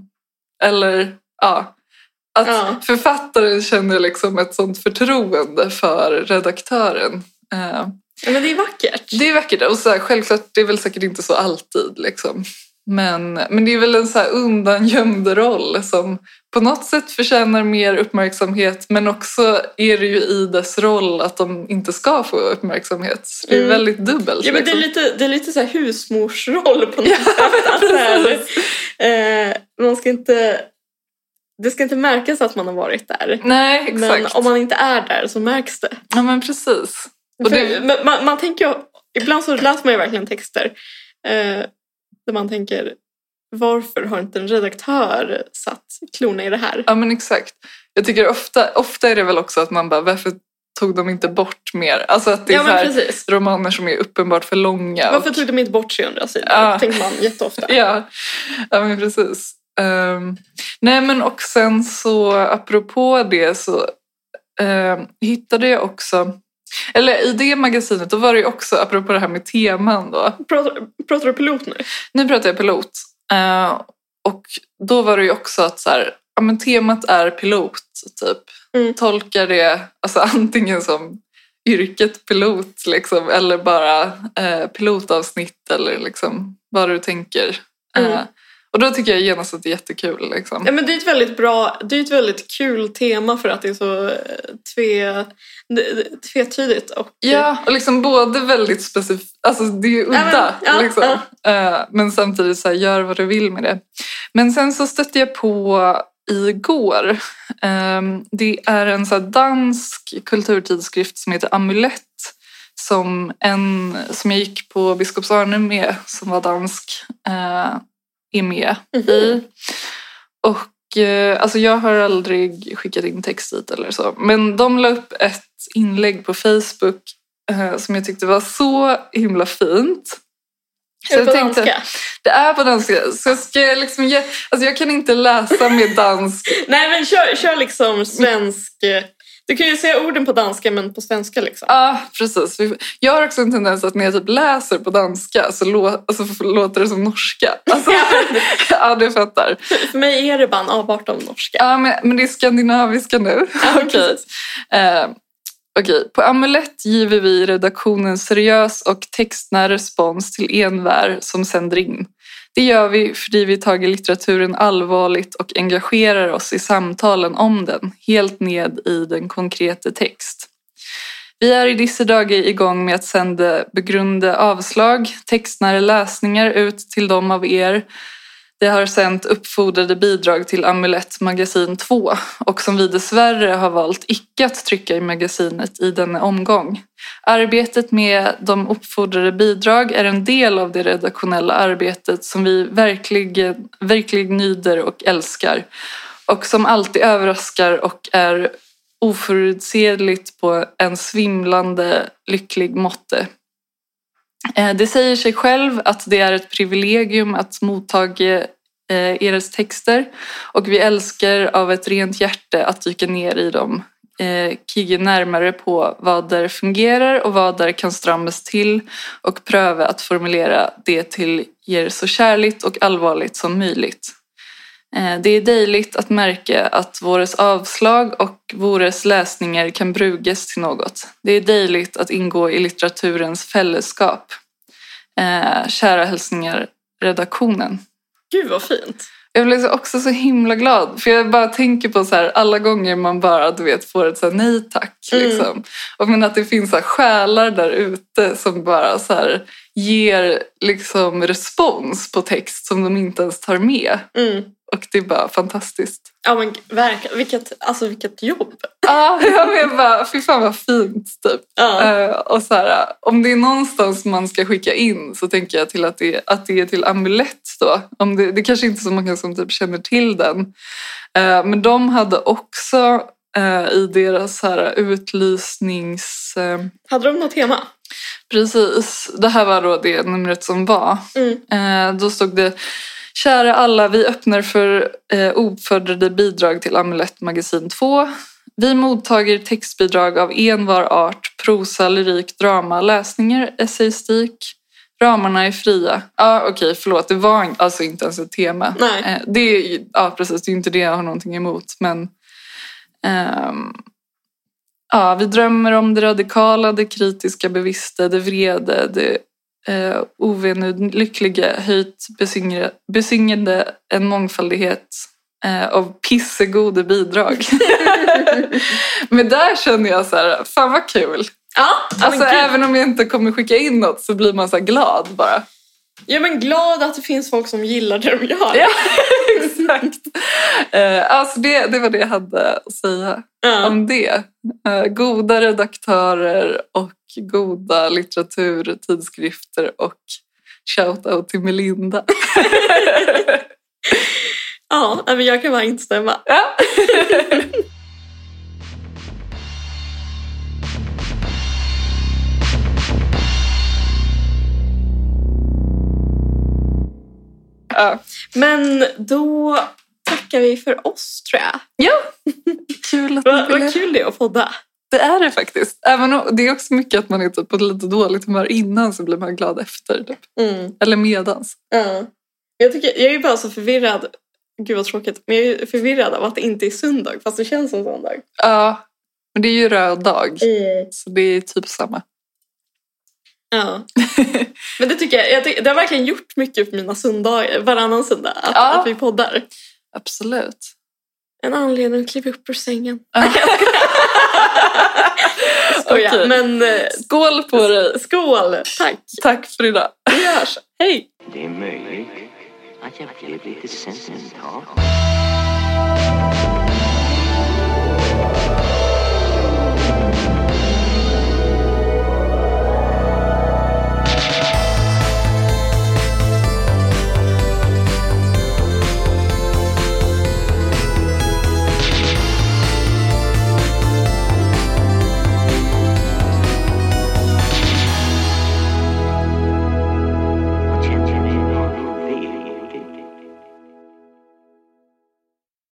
[SPEAKER 2] eller ja. Att
[SPEAKER 1] Ja.
[SPEAKER 2] författaren känner liksom ett sånt förtroende för redaktören. Eh,
[SPEAKER 1] Ja, Men det är vackert.
[SPEAKER 2] det är vackert. Och så här, självklart, det är väl säkert inte så alltid. Liksom. Men, men det är väl en så här undangömd roll som på något sätt förtjänar mer uppmärksamhet men också är det ju i dess roll att de inte ska få uppmärksamhet. Så Det är
[SPEAKER 1] Mm.
[SPEAKER 2] väldigt dubbelt.
[SPEAKER 1] Ja, men det, är
[SPEAKER 2] liksom.
[SPEAKER 1] lite, det är lite så här husmorsroll på något sätt. Att så här, eh, man ska inte, det ska inte märkas att man har varit där.
[SPEAKER 2] Nej,
[SPEAKER 1] Men
[SPEAKER 2] exakt.
[SPEAKER 1] om man inte är där så märks det.
[SPEAKER 2] Ja, men precis. Och
[SPEAKER 1] För,
[SPEAKER 2] det...
[SPEAKER 1] men man, man tänker, ju- ibland så läser man ju verkligen texter eh, där man tänker varför har inte en redaktör satt klorna i det här?
[SPEAKER 2] Ja men exakt. Jag tycker ofta, ofta är det väl också att man bara varför tog de inte bort mer? Alltså att det är
[SPEAKER 1] Ja,
[SPEAKER 2] så
[SPEAKER 1] men
[SPEAKER 2] här
[SPEAKER 1] precis.
[SPEAKER 2] romaner som är uppenbart för långa.
[SPEAKER 1] Varför tog de inte bort 300 sidor?
[SPEAKER 2] Ja.
[SPEAKER 1] tänker man jätteofta.
[SPEAKER 2] Ja, ja men precis. Ehm, nej men och sen så apropå det så ehm, hittade jag också, eller i det magasinet då var det ju också apropå det här med teman då.
[SPEAKER 1] Pratar, pratar du pilot nu?
[SPEAKER 2] Nu pratar jag pilot Ehm, och då var det ju också att så här, ja, men temat är pilot typ.
[SPEAKER 1] Mm.
[SPEAKER 2] Tolkar det alltså antingen som yrket pilot liksom, eller bara eh, pilotavsnitt eller liksom, vad du tänker.
[SPEAKER 1] Mm.
[SPEAKER 2] Eh, och då tycker jag genast att det är jättekul. Liksom.
[SPEAKER 1] Ja, men det är ett väldigt bra, det är ett väldigt kul tema för att det är så eh, tve, tvetydigt. Och, eh,
[SPEAKER 2] Ja, och liksom både väldigt specifikt, alltså det är ju
[SPEAKER 1] men-
[SPEAKER 2] udda,
[SPEAKER 1] ja,
[SPEAKER 2] liksom. Eh, men samtidigt så här, gör vad du vill med det. Men sen så stötte jag på igår, ehm, det är en så här dansk kulturtidskrift som heter Amulett som, en, som jag gick på Biskops Arne med, som var dansk, eh, är med
[SPEAKER 1] Mhm.
[SPEAKER 2] i. Och eh, alltså jag har aldrig skickat in text dit eller så. Men de la upp ett inlägg på Facebook eh, som jag tyckte var så himla fint. Så
[SPEAKER 1] Är det
[SPEAKER 2] jag
[SPEAKER 1] på
[SPEAKER 2] tänkte-
[SPEAKER 1] danska?
[SPEAKER 2] Det är på danska. Så jag, ska liksom ge, alltså jag kan inte läsa med dansk.
[SPEAKER 1] Nej, men kör, kör liksom svensk... eh, Du kan ju säga orden på danska, men på svenska liksom.
[SPEAKER 2] Ja, precis. Vi- Jag har också en tendens att när jag typ läser på danska så lå, alltså, f- låter det som norska. Alltså, ja, du fattar.
[SPEAKER 1] För mig är det bara en avart av norska.
[SPEAKER 2] Ja, men, men det är skandinaviska nu. Okej. Eh, okej. På Amulett giver vi redaktionen seriös och textnära respons till envär som sänder in. Det gör vi för vi tagit litteraturen allvarligt och engagerar oss i samtalen om den, helt ned i den konkreta text. Vi är i dessa dagar igång med att sända begrunda avslag, textnära läsningar ut till de av er det har sänt uppfordrade bidrag till Amulett magasin 2 och som vi dessvärre har valt icke att trycka i magasinet i denna omgång. Arbetet med de uppfordrade bidrag är en del av det redaktionella arbetet som vi verkligen, verkligen nyder och älskar och som alltid överraskar och är oförutsedligt på en svimlande lycklig måtte. Eh, Det säger sig själv att det är ett privilegium att mottaga eh, eras texter och vi älskar av ett rent hjärta att dyka ner i dem. Eh, Kigga närmare på vad där fungerar och vad där kan strammas till och pröva att formulera det till er så kärligt och allvarligt som möjligt. Eh, Det är dejligt att märka att våres avslag och våres läsningar kan brugas till något. Det är dejligt att ingå i litteraturens fällskap. Eh, Kära hälsningar redaktionen.
[SPEAKER 1] Gud vad fint.
[SPEAKER 2] Jag blev så- också så himla glad för jag bara tänker på så här, alla gånger man bara du vet, får ett så här, nej tack.
[SPEAKER 1] Mm.
[SPEAKER 2] Liksom. Och men att det finns så här, själar där ute som bara så här, ger liksom, respons på text som de inte ens tar med.
[SPEAKER 1] Mm.
[SPEAKER 2] Och det är bara fantastiskt.
[SPEAKER 1] Ja men verkligen, vilket, alltså, vilket jobb.
[SPEAKER 2] Ja, jag men bara, fy fan vad fint typ.
[SPEAKER 1] Ja.
[SPEAKER 2] Eh, och så här, eh, om det är någonstans man ska skicka in så tänker jag till att det, att det är till Amulett då. Om det, det kanske inte är så många som typ känner till den. Eh, men de hade också eh, i deras så här, utlysnings... eh,
[SPEAKER 1] Hade de något tema?
[SPEAKER 2] Precis. Det här var då det numret som var.
[SPEAKER 1] Mm.
[SPEAKER 2] Eh, då stod det Kära alla, vi öppnar för eh, ofördrade bidrag till Amulett magasin 2. Vi mottager textbidrag av envar art, prosa, lyrik, drama, läsningar, essayistik. Ramarna är fria. Ja, okej, förlåt. Det var in- alltså inte ens ett tema.
[SPEAKER 1] Nej.
[SPEAKER 2] Eh, det är ju, ja, precis. Det är inte det jag har någonting emot, men... ehm, Ja, vi drömmer om det radikala, det kritiska, bevisste, det vrede, det eh, ovenlyckliga, höjt besingra- besingade, en mångfaldighet eh, av pissegoda bidrag. Men där känner jag så här, fan vad kul.
[SPEAKER 1] Ja,
[SPEAKER 2] Alltså
[SPEAKER 1] men gud.
[SPEAKER 2] även om jag inte kommer skicka in något så blir man så här glad bara.
[SPEAKER 1] Ja men glad att det finns folk som gillar det de gör.
[SPEAKER 2] Ja, exakt. Eh, alltså det, det var det jag hade att säga.
[SPEAKER 1] Ja.
[SPEAKER 2] om det. Eh, Goda redaktörer och goda litteratur, tidskrifter och shout-out till Melinda.
[SPEAKER 1] Ja, nej, men jag kan bara instämma.
[SPEAKER 2] Ja. ja.
[SPEAKER 1] Men då tackar vi för oss tror jag.
[SPEAKER 2] Kul att
[SPEAKER 1] Vad,
[SPEAKER 2] ni ville.
[SPEAKER 1] vad kul det är att podda.
[SPEAKER 2] Det är det faktiskt. Även om, det är också mycket att man är typ på lite dåligt humör innan så blir man glad efter. Typ. Eller medans.
[SPEAKER 1] Mm, Ja. Jag, tycker, jag är bara så förvirrad. Gud vad tråkigt. Men jag är förvirrad av att det inte är söndag fast det känns som söndag.
[SPEAKER 2] Ja, men det är ju röd dag.
[SPEAKER 1] Mm.
[SPEAKER 2] Så det är typ samma.
[SPEAKER 1] Ja. Men det tycker jag, jag tycker, det har verkligen gjort mycket för mina söndagar, varannan söndag, att,
[SPEAKER 2] Ja.
[SPEAKER 1] att vi poddar.
[SPEAKER 2] Absolut.
[SPEAKER 1] En anledning att kliva upp ur sängen.
[SPEAKER 2] Ja.
[SPEAKER 1] Skoja.
[SPEAKER 2] Okej.
[SPEAKER 1] Men eh,
[SPEAKER 2] Skål på dig!
[SPEAKER 1] skål! Tack!
[SPEAKER 2] Tack för idag.
[SPEAKER 1] Vi hörs! Hej!
[SPEAKER 3] Det är möjligt att jag blev lite sentimental.